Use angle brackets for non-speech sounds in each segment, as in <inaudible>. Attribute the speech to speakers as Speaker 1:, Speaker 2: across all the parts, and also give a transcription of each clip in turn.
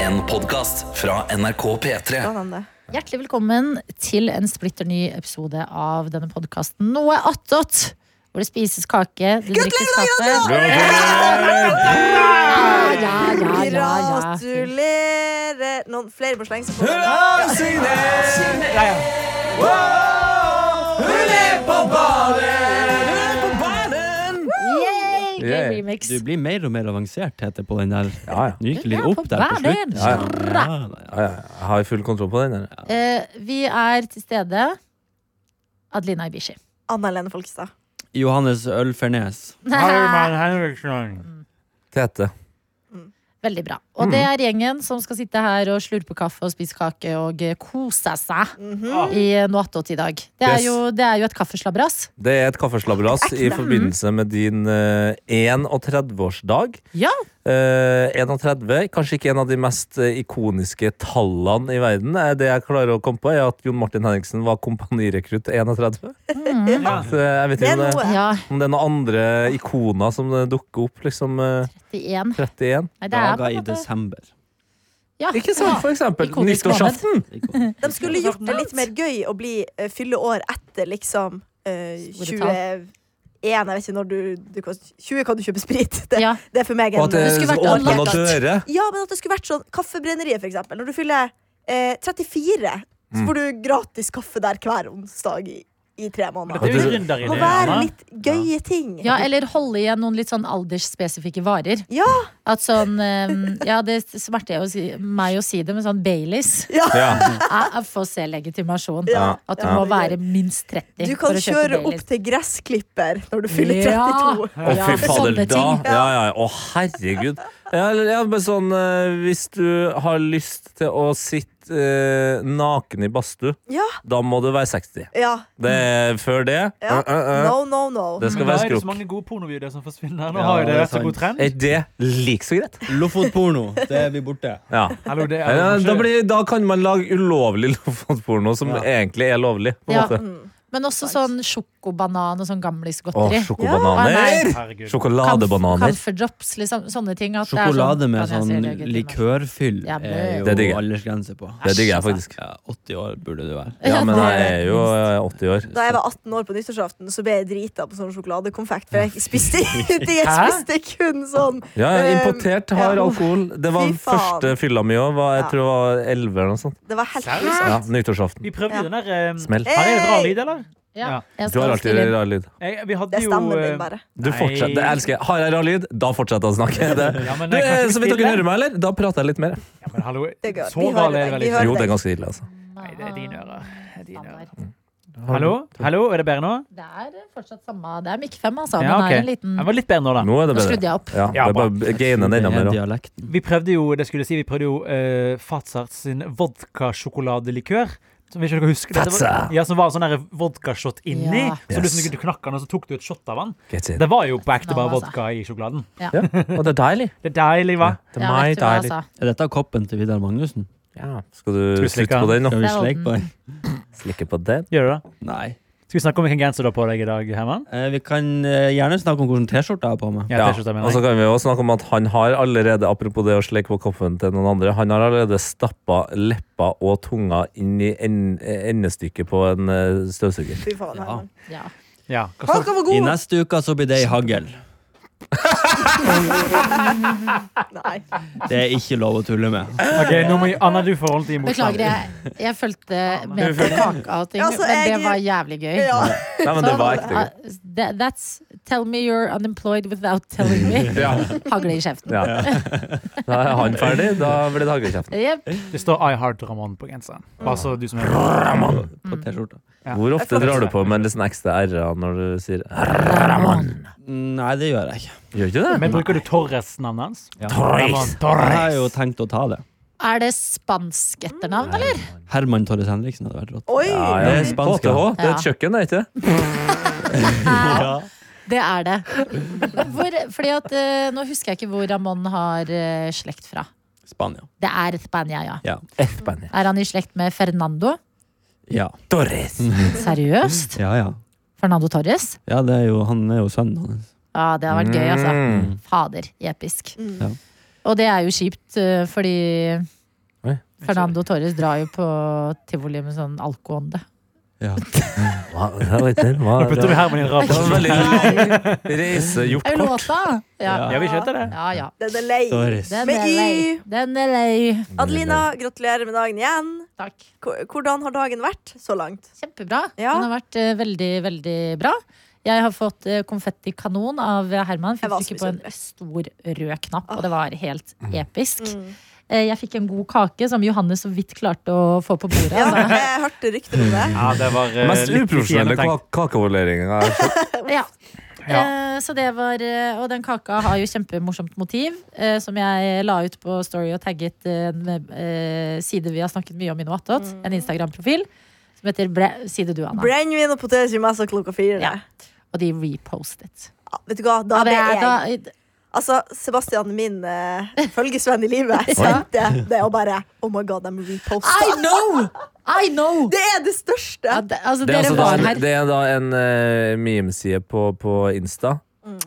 Speaker 1: En podcast fra NRK P3
Speaker 2: Hjertelig velkommen til en splitter ny episode av denne podkasten Noe attåt! Hvor det spises kake, det drikkes kaffe. Ja, ja, ja, ja, ja.
Speaker 3: Gratulerer! Noen flere på sleng? som får-
Speaker 2: Yay, gøy
Speaker 4: Yay.
Speaker 2: remix.
Speaker 5: Du blir mer og mer avansert, heter det på den der.
Speaker 4: Ja, ja.
Speaker 5: Du gikk litt
Speaker 2: Ja,
Speaker 5: opp
Speaker 2: på
Speaker 5: der på
Speaker 2: hver
Speaker 5: slutt.
Speaker 2: del. Ja, ja.
Speaker 5: ja.
Speaker 4: Ja, ja. Jeg har full kontroll på den. Der.
Speaker 2: Eh, vi er til stede. Adelina Ibishi.
Speaker 3: Anna Helene Folkestad.
Speaker 5: Johannes Ølfernes.
Speaker 3: <laughs>
Speaker 2: <laughs> Veldig
Speaker 4: Tete.
Speaker 2: bra. Og det er gjengen som skal sitte her og slurpe kaffe og spise kake og eh, kose seg i Noe attåt i dag. Det er
Speaker 4: Yes.
Speaker 2: jo, det er jo et kaffeslabberas.
Speaker 4: Det er et kaffeslabberas i forbindelse med din eh, 31-årsdag.
Speaker 2: Ja.
Speaker 4: Eh, 31, kanskje ikke en av de mest eh, ikoniske tallene i verden. Eh, Det jeg klarer å komme på, er at Jon Martin Henriksen var kompanirekrutt 31. <laughs> Så eh, jeg vet ikke
Speaker 3: Det er
Speaker 4: om det,
Speaker 3: noe.
Speaker 2: Ja,
Speaker 4: om det er noen andre ikoner som eh, dukker opp, liksom eh,
Speaker 2: 31.
Speaker 4: 31.
Speaker 2: Nei, det er på en
Speaker 5: Dager i
Speaker 2: måte
Speaker 5: desember.
Speaker 2: ja.
Speaker 4: Ikke sant, for eksempel.
Speaker 2: Ikonisk måned.
Speaker 4: Nyttårsaften.
Speaker 3: De skulle gjort det litt mer gøy å bli eh, fylle år etter liksom eh,
Speaker 2: Store
Speaker 3: 21 Jeg vet ikke når du, du kan- 20 kan du kjøpe sprit. Det,
Speaker 2: Ja.
Speaker 3: det er for meg
Speaker 4: Og
Speaker 3: en
Speaker 4: at det
Speaker 2: Det skulle vært
Speaker 4: åpner noen
Speaker 3: annerledes.
Speaker 4: dører.
Speaker 3: Ja, men at det skulle vært sånn Kaffebrenneriet, for eksempel. Når du fyller eh, 34,
Speaker 4: Mm.
Speaker 3: så får du gratis kaffe der hver onsdag i, i tre
Speaker 6: Det
Speaker 3: måneder.
Speaker 6: er jo gründerideen,
Speaker 3: Må være
Speaker 6: Anna.
Speaker 3: litt gøye ting.
Speaker 2: Ja, eller holde igjen noen litt sånn aldersspesifikke varer.
Speaker 3: Ja.
Speaker 2: At sånn, eh, ja, det smerter jo å si, meg å si det, men sånn Baileys
Speaker 3: Ja.
Speaker 2: Jeg jeg får se legitimasjon.
Speaker 3: Ja.
Speaker 2: At du
Speaker 3: Ja.
Speaker 2: må være minst 30
Speaker 3: Du kan
Speaker 2: for å kjøpe
Speaker 3: kjøre opp
Speaker 2: Baileys.
Speaker 3: til gressklipper når du fyller
Speaker 2: Ja.
Speaker 3: 32.
Speaker 4: Å,
Speaker 2: Ja,
Speaker 4: fy fader,
Speaker 2: sånne
Speaker 4: da!
Speaker 2: ting.
Speaker 4: Ja, ja, ja. Å, herregud. Ja, eller, ja, men sånn eh, Hvis du har lyst til å sitte eh, naken i badstue,
Speaker 3: Ja.
Speaker 4: da må du være 60.
Speaker 3: ja.
Speaker 4: Det er før det.
Speaker 3: Ja.
Speaker 4: Mm. eh, eh, eh,
Speaker 3: No, no, no.
Speaker 4: Det skal
Speaker 6: Men da
Speaker 4: være
Speaker 6: er det så
Speaker 4: skrok.
Speaker 6: mange gode pornovideoer som forsvinner. Nå
Speaker 5: Ja,
Speaker 6: har jo det
Speaker 5: det er
Speaker 6: vært så god
Speaker 5: sant.
Speaker 6: trend.
Speaker 4: Er det like så greit?
Speaker 5: Lofotporno, det er vi borte.
Speaker 4: Ja.
Speaker 6: Hallo, det er
Speaker 4: Ja,
Speaker 6: jo
Speaker 4: da,
Speaker 6: kanskje-
Speaker 4: blir, da kan man lage ulovlig <laughs> lofotenporno som
Speaker 5: Ja.
Speaker 4: egentlig er lovlig. På en
Speaker 2: Ja.
Speaker 4: måte.
Speaker 3: Mm.
Speaker 2: Men også sånn sjokobanan og sånn
Speaker 4: Å,
Speaker 2: gamlisgodteri.
Speaker 4: sjokobananer!
Speaker 6: Herregud.
Speaker 4: Sjokoladebananer.
Speaker 2: Kaffedrops, liksom. Sånne ting. At det er
Speaker 5: Sjokolade
Speaker 2: sånn-
Speaker 5: med
Speaker 2: Ja,
Speaker 5: sånn
Speaker 2: det er legitimasjon.
Speaker 5: likørfyll
Speaker 2: Ja, men-
Speaker 5: er
Speaker 4: Det digger
Speaker 5: jo
Speaker 4: jeg.
Speaker 5: aldersgrense på.
Speaker 4: Det digger jeg faktisk.
Speaker 5: Ja, 80 år burde du være.
Speaker 4: Ja, men jeg er jo eh, 80 år.
Speaker 3: Da jeg var 18 år på nyttårsaften, så ble jeg drita på sånn sjokoladekonfekt. For jeg
Speaker 4: <laughs>
Speaker 3: spiste ingenting. Jeg
Speaker 6: Hæ?
Speaker 3: spiste kun sånn
Speaker 4: Ja, ja,
Speaker 3: Eh,
Speaker 4: importert har
Speaker 3: ja.
Speaker 4: alkohol. Det var
Speaker 3: Fy
Speaker 4: den
Speaker 3: faen.
Speaker 4: første fylla mi òg. var- Jeg
Speaker 3: Ja.
Speaker 4: tror det var 11 eller noe sånt.
Speaker 3: Det var helt
Speaker 6: Seriøst?
Speaker 3: grusomt.
Speaker 4: Ja, Nyttårsaften.
Speaker 6: Vi prøvde
Speaker 3: Ja.
Speaker 6: den der um,
Speaker 4: Smell.
Speaker 6: Har jeg et rar lyd, eller?
Speaker 2: Ja,
Speaker 6: Ja.
Speaker 2: jeg
Speaker 4: Du har
Speaker 2: skal
Speaker 4: alltid
Speaker 2: stille inn.
Speaker 4: rar lyd.
Speaker 6: Jeg, vi hadde
Speaker 3: Det er stammen
Speaker 6: jo
Speaker 3: din,
Speaker 6: eh,
Speaker 3: bare.
Speaker 4: Du
Speaker 6: Nei.
Speaker 4: fortsetter, Det elsker jeg. Har jeg rar lyd? Da fortsetter jeg å snakke. Det.
Speaker 6: <laughs> Ja, men
Speaker 4: Du,
Speaker 6: jeg kan
Speaker 4: eh,
Speaker 6: ikke
Speaker 4: så vidt dere
Speaker 6: spille.
Speaker 4: hører meg, eller? Da prater jeg litt mer.
Speaker 6: Ja, men hallo,
Speaker 3: Det går.
Speaker 6: så
Speaker 3: Vi
Speaker 6: gal
Speaker 3: hører
Speaker 6: er det
Speaker 3: deg.
Speaker 6: vel
Speaker 3: Vi
Speaker 6: ikke?
Speaker 3: hører
Speaker 4: Jo, det
Speaker 3: deg.
Speaker 4: er ganske ille, altså.
Speaker 6: Nei, det er dine ører. Det er dine ører.
Speaker 4: Har du-
Speaker 6: Hallo? Hallo, er det bedre nå?
Speaker 2: Det er fortsatt samme. Det er Mikk 5, altså. men det
Speaker 6: Ja,
Speaker 2: er
Speaker 6: ok.
Speaker 2: en liten
Speaker 6: Den var litt bedre nå, da.
Speaker 4: Nå er det
Speaker 2: Nå skrudde
Speaker 4: bedre.
Speaker 2: jeg opp.
Speaker 4: Ja, det
Speaker 6: Ja,
Speaker 4: er
Speaker 6: bra.
Speaker 4: bare gaine den
Speaker 5: Det
Speaker 4: enda
Speaker 5: er
Speaker 4: mer. da.
Speaker 5: dialekten.
Speaker 6: Vi prøvde jo, det skulle jeg si, vi prøvde jo uh, Fatsart sin vodkasjokoladelikør. Som vi ikke dere husker Det var-
Speaker 4: Fatsart.
Speaker 6: Ja, som var sånn der vodkashot inni.
Speaker 2: Ja.
Speaker 6: Så
Speaker 4: Yes.
Speaker 6: du, du knakk den, og så tok du et shot av den.
Speaker 4: Get it.
Speaker 6: Det var jo på ekte
Speaker 2: Nå,
Speaker 6: bare
Speaker 2: altså.
Speaker 6: vodka i sjokoladen.
Speaker 4: Ja, og det er deilig.
Speaker 6: Det er deilig, hva?
Speaker 4: Det er
Speaker 2: Ja,
Speaker 4: meg
Speaker 2: vet du hva,
Speaker 4: deilig.
Speaker 2: altså.
Speaker 5: Er dette koppen til Vidar Magnussen?
Speaker 4: Ja, skal du
Speaker 6: vi
Speaker 4: slutte
Speaker 6: slikke
Speaker 4: på den nå?
Speaker 5: Skal vi
Speaker 2: Det er
Speaker 5: sleike på den?
Speaker 4: Slikke på den?
Speaker 6: Gjør du det?
Speaker 5: Nei.
Speaker 6: Skal vi snakke om hvilken genser du har på deg i dag, Herman?
Speaker 5: Eh, Vi kan eh, gjerne snakke om hvordan T-skjorta jeg har på meg.
Speaker 6: Ja, altså-
Speaker 4: Ja,
Speaker 6: T-skjorta mener
Speaker 4: og så
Speaker 6: jeg.
Speaker 4: kan vi jo snakke om at han har allerede Apropos det å sleke på koppen til noen andre Han har allerede stappa leppa og tunga inn i en- eh, endestykket på en eh, støvsuger.
Speaker 3: Fy faen, Herman.
Speaker 2: Ja.
Speaker 6: Ja, hva så?
Speaker 3: Kaka var
Speaker 5: I
Speaker 3: god!
Speaker 5: neste uke så blir det ei hagl.
Speaker 3: Nei.
Speaker 5: Det er ikke lov å tulle med.
Speaker 6: Ok, nå må jeg, Anna, du får holde til
Speaker 2: Beklager, jeg, jeg fulgte med på kaka og ting,
Speaker 3: Ja, så
Speaker 2: men det
Speaker 3: jeg-
Speaker 2: var jævlig gøy.
Speaker 3: Ja.
Speaker 4: <laughs> Nei, men det var ekte.
Speaker 2: uh, that- that's Tell me you're unemployed without telling me.
Speaker 4: <laughs>
Speaker 2: Hagle i kjeften.
Speaker 4: Ja. Da er han ferdig, da blir det haglekjeften.
Speaker 2: Jep.
Speaker 6: Det står I Heart Ramon på genseren. Bare så du som er
Speaker 5: På T-skjorta.
Speaker 6: Ja.
Speaker 4: Hvor ofte drar du på med litt sånn ekstra r-er når du sier
Speaker 5: Nei, det gjør jeg ikke.
Speaker 4: <laughs> Gjør ikke det?
Speaker 6: Men bruker du Torres-navnet hans?
Speaker 5: Ja.
Speaker 6: Ramon Torres.
Speaker 5: Jeg har jo tenkt å ta det.
Speaker 2: Er det spansk etternavn, eller?
Speaker 5: Herman Torres Henriksen hadde vært rått.
Speaker 3: Oi!
Speaker 4: Ja, ja.
Speaker 5: Det er spansk,
Speaker 4: KTH, det er et kjøkken, det er ikke det?
Speaker 2: Det er det. Hvor, fordi at eh, Nå husker jeg ikke hvor Ramón har eh, slekt fra.
Speaker 5: Spania.
Speaker 2: Det er Spania, ja.
Speaker 5: Ja.
Speaker 4: Espania.
Speaker 2: Er han i slekt med Fernando?
Speaker 5: Ja.
Speaker 4: Torres.
Speaker 2: Seriøst?
Speaker 5: ja, ja.
Speaker 2: Fernando Torres?
Speaker 5: Ja, det er jo, han er jo sønnen hans.
Speaker 2: Ja, det hadde vært gøy, altså.
Speaker 4: Mm.
Speaker 2: Fader, episk.
Speaker 3: Mm.
Speaker 5: Ja.
Speaker 2: Og det er jo kjipt, eh, fordi
Speaker 4: Oi.
Speaker 2: Fernando Torres drar jo på tivoli med sånn alkoånde.
Speaker 5: Ja.
Speaker 4: Hva, <laughs> hva, vet du, hva,
Speaker 6: Nå putter vi Herman i en
Speaker 4: Det var
Speaker 6: rabatt.
Speaker 4: veldig reisegjort
Speaker 2: Det er jo
Speaker 4: kort.
Speaker 2: låta! Ja,
Speaker 6: Ja, vi skjønte det.
Speaker 2: ja. ja.
Speaker 3: Den er lei.
Speaker 5: Doris.
Speaker 2: Den
Speaker 3: Med
Speaker 2: er
Speaker 3: Y.
Speaker 2: lei. Den er lei.
Speaker 3: Adelina, gratulerer med dagen igjen.
Speaker 2: Takk.
Speaker 3: Ko- Hvordan har dagen vært så
Speaker 2: <laughs>
Speaker 3: langt?
Speaker 2: Kjempebra.
Speaker 3: Ja.
Speaker 2: Den har vært eh, veldig, veldig bra. Jeg har fått eh, konfettikanon av Herman.
Speaker 3: Jeg
Speaker 2: Fikk
Speaker 3: var
Speaker 2: trykke på en stor rød knapp, og det var helt episk.
Speaker 3: Mm.
Speaker 2: Eh, Jeg fikk en god kake som Johannes så vidt klarte å få på bordet.
Speaker 3: Ja,
Speaker 2: Altså,
Speaker 3: jeg hørte rykter om det.
Speaker 6: Ja, det var eh,
Speaker 4: Den mest
Speaker 6: litt
Speaker 4: uprofesjonelle
Speaker 6: gjennomtenkt.
Speaker 4: ka- kakevoleringa. jeg har sett.
Speaker 2: altså.
Speaker 3: <laughs>
Speaker 2: ja.
Speaker 6: Ja.
Speaker 2: Eh, Så det var, eh, og den kaka har jo kjempemorsomt motiv, eh, som jeg la ut på Story og tagget eh, en eh, side vi har snakket mye om i Noatot.
Speaker 3: Mm.
Speaker 2: En Instagram-profil som heter Bre Side du, Anna.
Speaker 3: Brennevin og poteter i messa klokka fire.
Speaker 2: Ja. Og de repostet.
Speaker 3: Ja, vet du hva, da
Speaker 2: Ja, det
Speaker 3: ble jeg
Speaker 2: er, da,
Speaker 3: Altså, Sebastian, min eh, følgesvenn i
Speaker 2: <laughs>
Speaker 3: livet, sendte det og bare Oh my god, de reposta.
Speaker 2: I know! I know!
Speaker 3: Det er det
Speaker 2: Ja,
Speaker 3: største!
Speaker 2: det, altså,
Speaker 4: Det er,
Speaker 2: dere
Speaker 4: altså da
Speaker 2: var
Speaker 4: en,
Speaker 2: her.
Speaker 4: det er da en eh, memeside på, på Insta.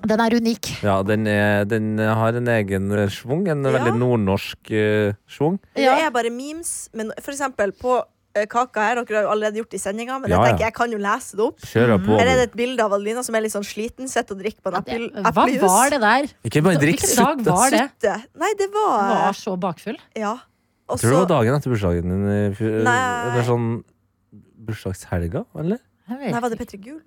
Speaker 2: Den er unik.
Speaker 4: Ja, den, er, den har en egen eh, schwung. En
Speaker 3: Ja.
Speaker 4: veldig nordnorsk eh, schwung.
Speaker 3: Det er bare memes. Men for eksempel på eh, kaka her, dere har jo allerede gjort det i sendinga, men
Speaker 4: Ja,
Speaker 3: jeg
Speaker 4: ja.
Speaker 3: tenker jeg kan jo lese det opp.
Speaker 4: Kjører på.
Speaker 3: Her Mm. er det et bilde av Adelina som er litt sånn sliten, sitter og drikker på en
Speaker 2: Det,
Speaker 3: apple-
Speaker 2: hva var det der?
Speaker 4: Ikke bare altså. drikk,
Speaker 2: Hvilken dag
Speaker 4: slutt.
Speaker 2: var det?
Speaker 3: Det- Nei, det var,
Speaker 2: Den var så bakfull.
Speaker 3: Ja. Og
Speaker 4: Tror du det var
Speaker 3: så
Speaker 4: dagen etter bursdagen din? i fjor-
Speaker 3: Nei.
Speaker 4: Eller sånn bursdagshelga, eller?
Speaker 2: Jeg vet
Speaker 3: Nei, var det
Speaker 2: ikke.
Speaker 3: Petter Gull?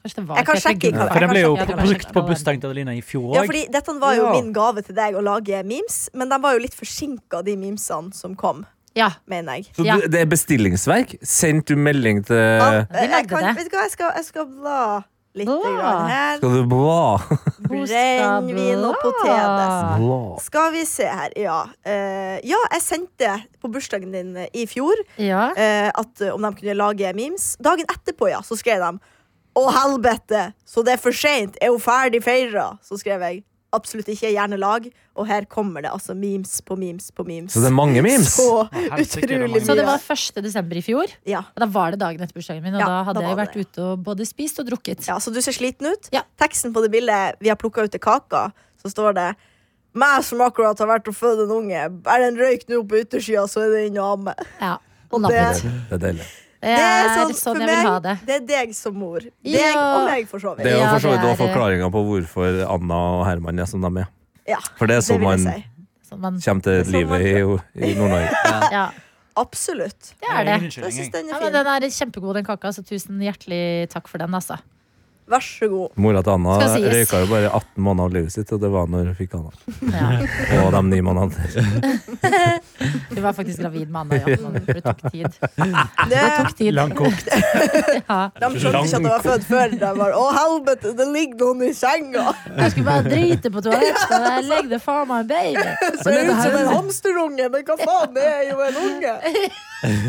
Speaker 2: Kanskje det var
Speaker 3: Jeg kan
Speaker 2: Petter
Speaker 3: sjekke i
Speaker 2: Gull.
Speaker 3: kalenderen.
Speaker 6: For den ble jo
Speaker 2: Ja, det var
Speaker 6: brukt
Speaker 2: sikkert
Speaker 6: på
Speaker 2: den.
Speaker 6: bursdagen til Adelina i fjor
Speaker 3: Ja,
Speaker 6: òg.
Speaker 3: fordi dette var jo
Speaker 4: Ja.
Speaker 3: min gave til deg å lage memes, men de var jo litt forsinka, de memesene som kom,
Speaker 2: Ja,
Speaker 3: mener jeg.
Speaker 4: Så
Speaker 2: Ja.
Speaker 4: du, det er bestillingsverk? Sendte du melding til
Speaker 3: Ja,
Speaker 2: de lagde
Speaker 3: jeg kan,
Speaker 2: det.
Speaker 3: vet du hva, jeg skal, jeg skal bla litt
Speaker 2: Bla.
Speaker 3: grann her.
Speaker 4: Skal du bla?
Speaker 3: Brennevin og poteter.
Speaker 2: Ah.
Speaker 4: <laughs> bla.
Speaker 3: Skal vi se her, ja. Eh, ja, jeg sendte på bursdagen din eh, i fjor
Speaker 2: Ja.
Speaker 3: eh, at, eh, om de kunne lage memes. Dagen etterpå, ja, så skrev de Å, helvete, så det er for seint. Er hun ferdig feira? Så skrev jeg absolutt ikke. Gjerne lag. Og her kommer det altså memes på memes på memes.
Speaker 4: Så det er mange memes?
Speaker 3: Så
Speaker 6: helsike, det er
Speaker 3: utrolig
Speaker 6: mange
Speaker 3: mye.
Speaker 2: Så det var 1. desember i fjor.
Speaker 3: ja.
Speaker 2: Da var det dagen etter bursdagen min, og
Speaker 3: Ja,
Speaker 2: da hadde
Speaker 3: da
Speaker 2: jeg
Speaker 3: var
Speaker 2: vært
Speaker 3: det.
Speaker 2: ute og både spist og drukket.
Speaker 3: ja, så du ser sliten ut.
Speaker 2: Ja.
Speaker 3: Teksten på det bildet vi har plukka ut til kaka, så står det meg som akkurat har vært og født en unge. Er den røyk nå på yttersida, så er det inn og amme.
Speaker 2: Ja.
Speaker 3: Og
Speaker 2: Napp.
Speaker 3: det,
Speaker 4: Det er deilig.
Speaker 2: Det
Speaker 3: det
Speaker 2: er
Speaker 3: er sånn, for
Speaker 2: sånn jeg
Speaker 3: meg,
Speaker 2: vil ha det.
Speaker 3: det er deg som mor. Deg
Speaker 2: Ja.
Speaker 3: og meg, for så
Speaker 4: Det
Speaker 3: vidt.
Speaker 4: er jo
Speaker 2: Ja,
Speaker 4: for så vidt
Speaker 2: det
Speaker 4: også
Speaker 2: er-
Speaker 4: forklaringa på hvorfor Anna og Herman er som de er.
Speaker 3: Ja,
Speaker 4: For det er
Speaker 3: det
Speaker 4: sånn
Speaker 3: vil jeg
Speaker 4: man
Speaker 3: si.
Speaker 2: Sånn man,
Speaker 4: kommer til
Speaker 3: Det er sånn
Speaker 4: livet i, i Nord-Norge.
Speaker 2: ja,
Speaker 3: Absolutt.
Speaker 2: det er det.
Speaker 3: Jeg syns den
Speaker 2: Ja,
Speaker 3: er
Speaker 2: men
Speaker 3: fin.
Speaker 2: den er kjempegod, den kaka, så tusen hjertelig takk for den, altså.
Speaker 3: Vær så god.
Speaker 4: Mora til Anna
Speaker 2: Skal sies.
Speaker 4: røyka jo bare 18 måneder av livet sitt, og det var når hun fikk Anna.
Speaker 2: Ja.
Speaker 4: Og de ni
Speaker 2: <laughs>
Speaker 4: månedene.
Speaker 2: Du var faktisk gravid med Anna, ja. men Det tok
Speaker 3: <laughs>
Speaker 2: tid.
Speaker 3: Det,
Speaker 2: Det tok tid.
Speaker 6: Langkokt.
Speaker 2: <laughs> Ja.
Speaker 3: de skjønte ikke at jeg var født før. De var, Å, helvete, det ligger noen i senga!
Speaker 2: Jeg skulle bare drite
Speaker 3: <laughs>
Speaker 2: på toalettet, og jeg legger det for meg, baby.
Speaker 3: Ser ut som en hamsterunge, men hva faen, det er jo en unge!
Speaker 2: <laughs>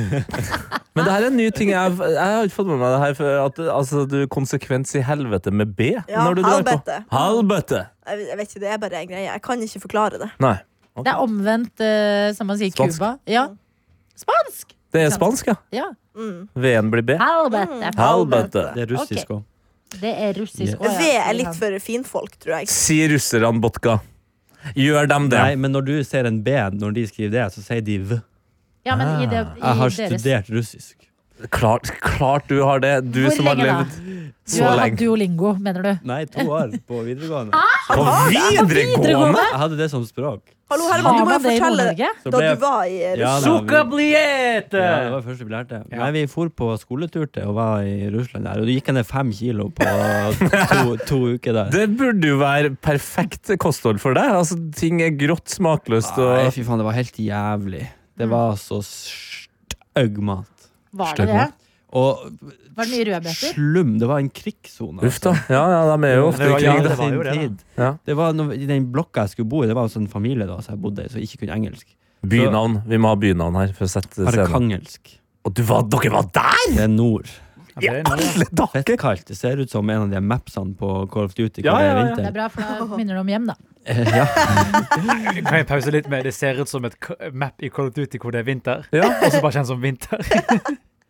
Speaker 4: Men det her er en ny ting. Jeg, jeg har ikke fått med meg det her før. At altså, du konsekvent sier 'helvete' med B.
Speaker 3: Ja,
Speaker 4: når du drar på.
Speaker 3: helvete.
Speaker 4: Helvete!
Speaker 3: Jeg vet- jeg vet ikke, Det er bare en greie. Jeg kan ikke forklare det.
Speaker 4: Nei.
Speaker 2: Det er omvendt, eh, som man sier i
Speaker 4: Spansk.
Speaker 2: Cuba. Ja. Spansk!
Speaker 4: Det er spansk, ja.
Speaker 2: Ja. Mm.
Speaker 4: V-en blir B.
Speaker 2: Helvete.
Speaker 4: Helvete.
Speaker 5: Det er russisk
Speaker 2: Ok.
Speaker 5: òg.
Speaker 2: Det er russisk også, ja,
Speaker 3: V er
Speaker 2: sier
Speaker 3: litt
Speaker 2: han.
Speaker 3: for finfolk, tror jeg.
Speaker 4: Sier russerne vodka. Gjør dem det.
Speaker 5: Nei, men når du ser en B, når de skriver det, så sier de V.
Speaker 2: Ja, men i det, i
Speaker 5: Ah, Jeg har
Speaker 2: deres,
Speaker 5: studert russisk.
Speaker 4: Klart, klart du har det. Du
Speaker 2: Hvor
Speaker 4: som har
Speaker 2: lenge da?
Speaker 4: levd
Speaker 2: Du
Speaker 4: så
Speaker 2: har hatt
Speaker 4: lenge.
Speaker 2: duolingo, mener du?
Speaker 5: Nei, to år på videregående.
Speaker 4: På videregående?
Speaker 5: Jeg hadde det som språk.
Speaker 3: Hallo, Herman, du må
Speaker 2: Har
Speaker 3: jo
Speaker 2: man det i
Speaker 3: fortelle
Speaker 2: Nord-Norge?
Speaker 5: Så
Speaker 3: da
Speaker 5: ble
Speaker 3: du
Speaker 5: jeg-
Speaker 3: var i
Speaker 5: Ja,
Speaker 3: Russland.
Speaker 5: da, vi-
Speaker 6: Sukkabliete!
Speaker 5: Ja, det var første vi lærte.
Speaker 6: Ja.
Speaker 5: Nei, vi for på skoletur til og var i Russland der, og da gikk jeg ned fem kilo på <laughs> to, to uker der.
Speaker 4: Det burde jo være perfekt kosthold for deg. Altså, ting er grått, smakløst
Speaker 5: Nei,
Speaker 4: og
Speaker 5: fy faen, det var helt jævlig. Det var så stygg mat.
Speaker 2: Var det det?
Speaker 5: Og
Speaker 2: Var det mye rødbeter?
Speaker 5: slum. Det var en krigssone. altså.
Speaker 4: Uff da. Ja, ja, de er jo ofte i
Speaker 6: var- ja,
Speaker 4: krig, da.
Speaker 6: det var jo det, da.
Speaker 5: Tid.
Speaker 4: Ja.
Speaker 5: Det var noe, I den blokka jeg skulle bo i, det var en sånn familie da, som jeg bodde i, som ikke kunne engelsk.
Speaker 4: Bynavn. Vi må ha bynavn her for å sette scenen.
Speaker 5: Arkangelsk.
Speaker 4: Og du var, dere var der?!
Speaker 5: Det er nord.
Speaker 6: Ja, Altså, det er noe.
Speaker 4: Alle dager!
Speaker 5: Fettkaldt. Det ser ut som en av de mapsene på Call of Duty.
Speaker 6: Ja,
Speaker 5: hvor det er
Speaker 6: ja, ja.
Speaker 5: vinter.
Speaker 2: Det er bra, for <laughs> da minner det om hjem, da.
Speaker 5: Eh, <laughs> ja.
Speaker 6: Kan jeg pause litt med Det ser ut som et k- map i Call of Duty hvor det er vinter.
Speaker 4: Ja.
Speaker 6: Og så bare kjent som <laughs> vinter.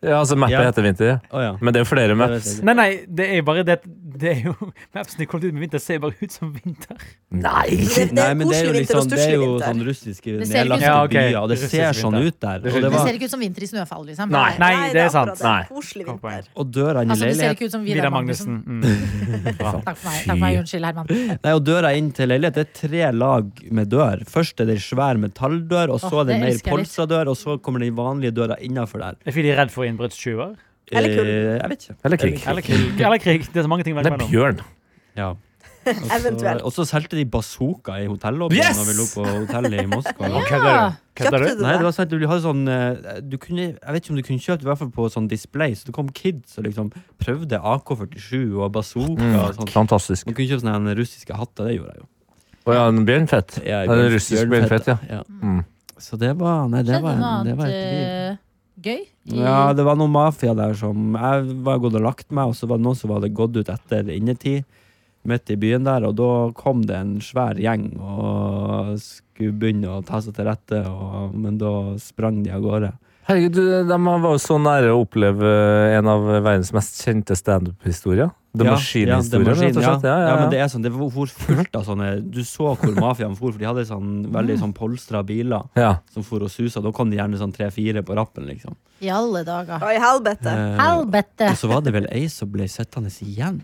Speaker 4: ja, altså, mappet
Speaker 5: Ja.
Speaker 4: heter Vinter.
Speaker 5: Å, ja.
Speaker 4: Men det er flere maps.
Speaker 5: Det vet jeg ikke.
Speaker 6: Nei, nei, det er bare det at det er jo, Mapsene de kom ut med vinter, ser bare ut som vinter.
Speaker 4: Nei!
Speaker 3: Det, det er
Speaker 5: Nei, men det er jo
Speaker 3: koselig
Speaker 5: litt
Speaker 3: vinter og
Speaker 5: sånn- det er
Speaker 3: stusslig
Speaker 5: jo
Speaker 3: vinter.
Speaker 5: sånn russiske
Speaker 2: Det ser ikke ut
Speaker 5: nedlagte
Speaker 6: som- Ja, ok.
Speaker 5: byer, og det ser
Speaker 6: Russisk
Speaker 5: sånn
Speaker 6: vinter.
Speaker 5: ut der.
Speaker 6: Det
Speaker 5: Og, det
Speaker 2: Det
Speaker 5: var,
Speaker 2: ser ikke ut som vinter i snøfall, liksom.
Speaker 6: Nei.
Speaker 2: Nei.
Speaker 6: det er sant.
Speaker 3: akkurat
Speaker 4: Nei.
Speaker 3: Koselig
Speaker 6: Godt poeng.
Speaker 3: vinter.
Speaker 5: og dørene i
Speaker 2: Altså, du ser
Speaker 5: leilighet
Speaker 2: ikke ut som
Speaker 6: Vidar
Speaker 2: Vidar Magnussen.
Speaker 6: Magnussen. Mm.
Speaker 2: Takk for meg. Takk for meg. Unnskyld, Herman.
Speaker 5: Nei, og døra inn til leilighet Det er tre lag med dør. Først er det en svær metalldør, og så
Speaker 2: Åh,
Speaker 5: er det
Speaker 2: det
Speaker 5: en mer
Speaker 2: elsker jeg litt.
Speaker 5: polstra dør, og så kommer den vanlige døra innafor der.
Speaker 6: Er fordi de er redd for innbruddstyver?
Speaker 3: Eller kull.
Speaker 5: Eh, Jeg vet ikke.
Speaker 4: Eller krig.
Speaker 6: Eller <laughs> krig? Eller krig. Det er så mange ting å velge
Speaker 4: Eller
Speaker 6: mellom.
Speaker 4: bjørn.
Speaker 2: <laughs>
Speaker 5: Ja.
Speaker 3: Eventuelt.
Speaker 5: Og så solgte de bazooka i hotellobbyen
Speaker 4: Yes!
Speaker 5: når vi lå på hotellet i
Speaker 2: <laughs>
Speaker 5: Moskva.
Speaker 2: Ja.
Speaker 6: Kødder du? Kødder
Speaker 3: Kjøpte
Speaker 6: du?
Speaker 3: du
Speaker 5: Nei, det
Speaker 3: det?
Speaker 5: var sånn at du hadde sånn eh, du kunne, Jeg vet ikke om du kunne kjøpt i hvert fall på sånn display, så det kom kids og liksom prøvde AK-47 og bazooka
Speaker 6: Mm.
Speaker 4: Mm.
Speaker 5: og
Speaker 6: sånn.
Speaker 5: sånt.
Speaker 4: Fantastisk.
Speaker 5: Man kunne kjøpe sånne her russiske hatter, det gjorde jeg jo.
Speaker 4: Å ja, en bjørnfett.
Speaker 5: Jeg,
Speaker 4: Ja, det er russisk bjørnfett, ja.
Speaker 5: ja.
Speaker 4: Mm.
Speaker 5: Så det var Nei, det
Speaker 2: Skjedde
Speaker 5: var,
Speaker 2: noe
Speaker 5: det
Speaker 2: annet
Speaker 5: var et liv.
Speaker 2: eh, gøy? i-
Speaker 5: Ja, det var noen mafia der som Jeg var gått og lagt meg, og så var det noen som hadde gått ut etter innetid midt i byen der, og da kom det en svær gjeng og skulle begynne å ta seg til rette, og, men da sprang de av gårde.
Speaker 4: Herregud, du, de var jo så nære å oppleve eh, en av verdens mest kjente standup-historier. The
Speaker 5: Ja,
Speaker 4: Machine-historien,
Speaker 5: ja, The Machine,
Speaker 4: rett og slett.
Speaker 5: Ja.
Speaker 4: Ja,
Speaker 5: Ja, men
Speaker 4: ja,
Speaker 5: det
Speaker 4: ja.
Speaker 5: er sånn, det for fullt av sånne Du så hvor mafiaen for, for de hadde sånn veldig sånn polstra biler
Speaker 4: ja.
Speaker 5: som for og susa. Da kom det gjerne sånn tre-fire på rappen, liksom.
Speaker 2: I alle dager.
Speaker 3: Oi, helvete.
Speaker 5: Eh,
Speaker 2: Helvete!
Speaker 5: og så var det vel ei som ble sittende igjen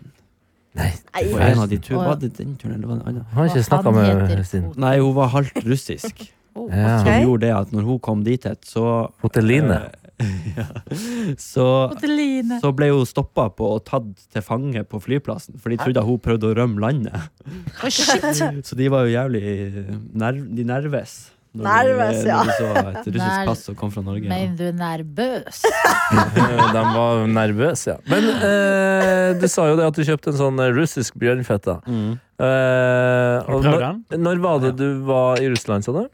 Speaker 3: Nei,
Speaker 5: på en av de turene. Var det den turen, eller var det en annen?
Speaker 4: Han har ikke
Speaker 2: Og
Speaker 4: snakka
Speaker 2: han
Speaker 4: med
Speaker 2: heter
Speaker 4: sin
Speaker 2: Fot-
Speaker 5: Nei, hun var halvt russisk.
Speaker 2: Oh.
Speaker 4: ja.
Speaker 5: Så
Speaker 3: Ok.
Speaker 5: hun gjorde det at når hun kom dit, et, så,
Speaker 4: Hotelline.
Speaker 5: så,
Speaker 2: Adeline.
Speaker 5: så ble hun stoppa på og tatt til fange på flyplassen, for de trodde hun prøvde å rømme landet.
Speaker 2: Å, shit!
Speaker 5: Så de var jo jævlig nerv, De nerves. Når
Speaker 3: Nerves,
Speaker 5: de,
Speaker 3: ja.
Speaker 5: når de så et russisk
Speaker 2: Ner-
Speaker 5: pass som kom fra Norge.
Speaker 2: Men du er nervøs.
Speaker 4: Eh, De var nervøse, ja. Men eh, du sa jo det at du kjøpte en sånn eh, russisk bjørnfett. da.
Speaker 5: Mm.
Speaker 4: Eh, og
Speaker 6: Har du prøvd
Speaker 4: når, når var det du var i Russland, sa du?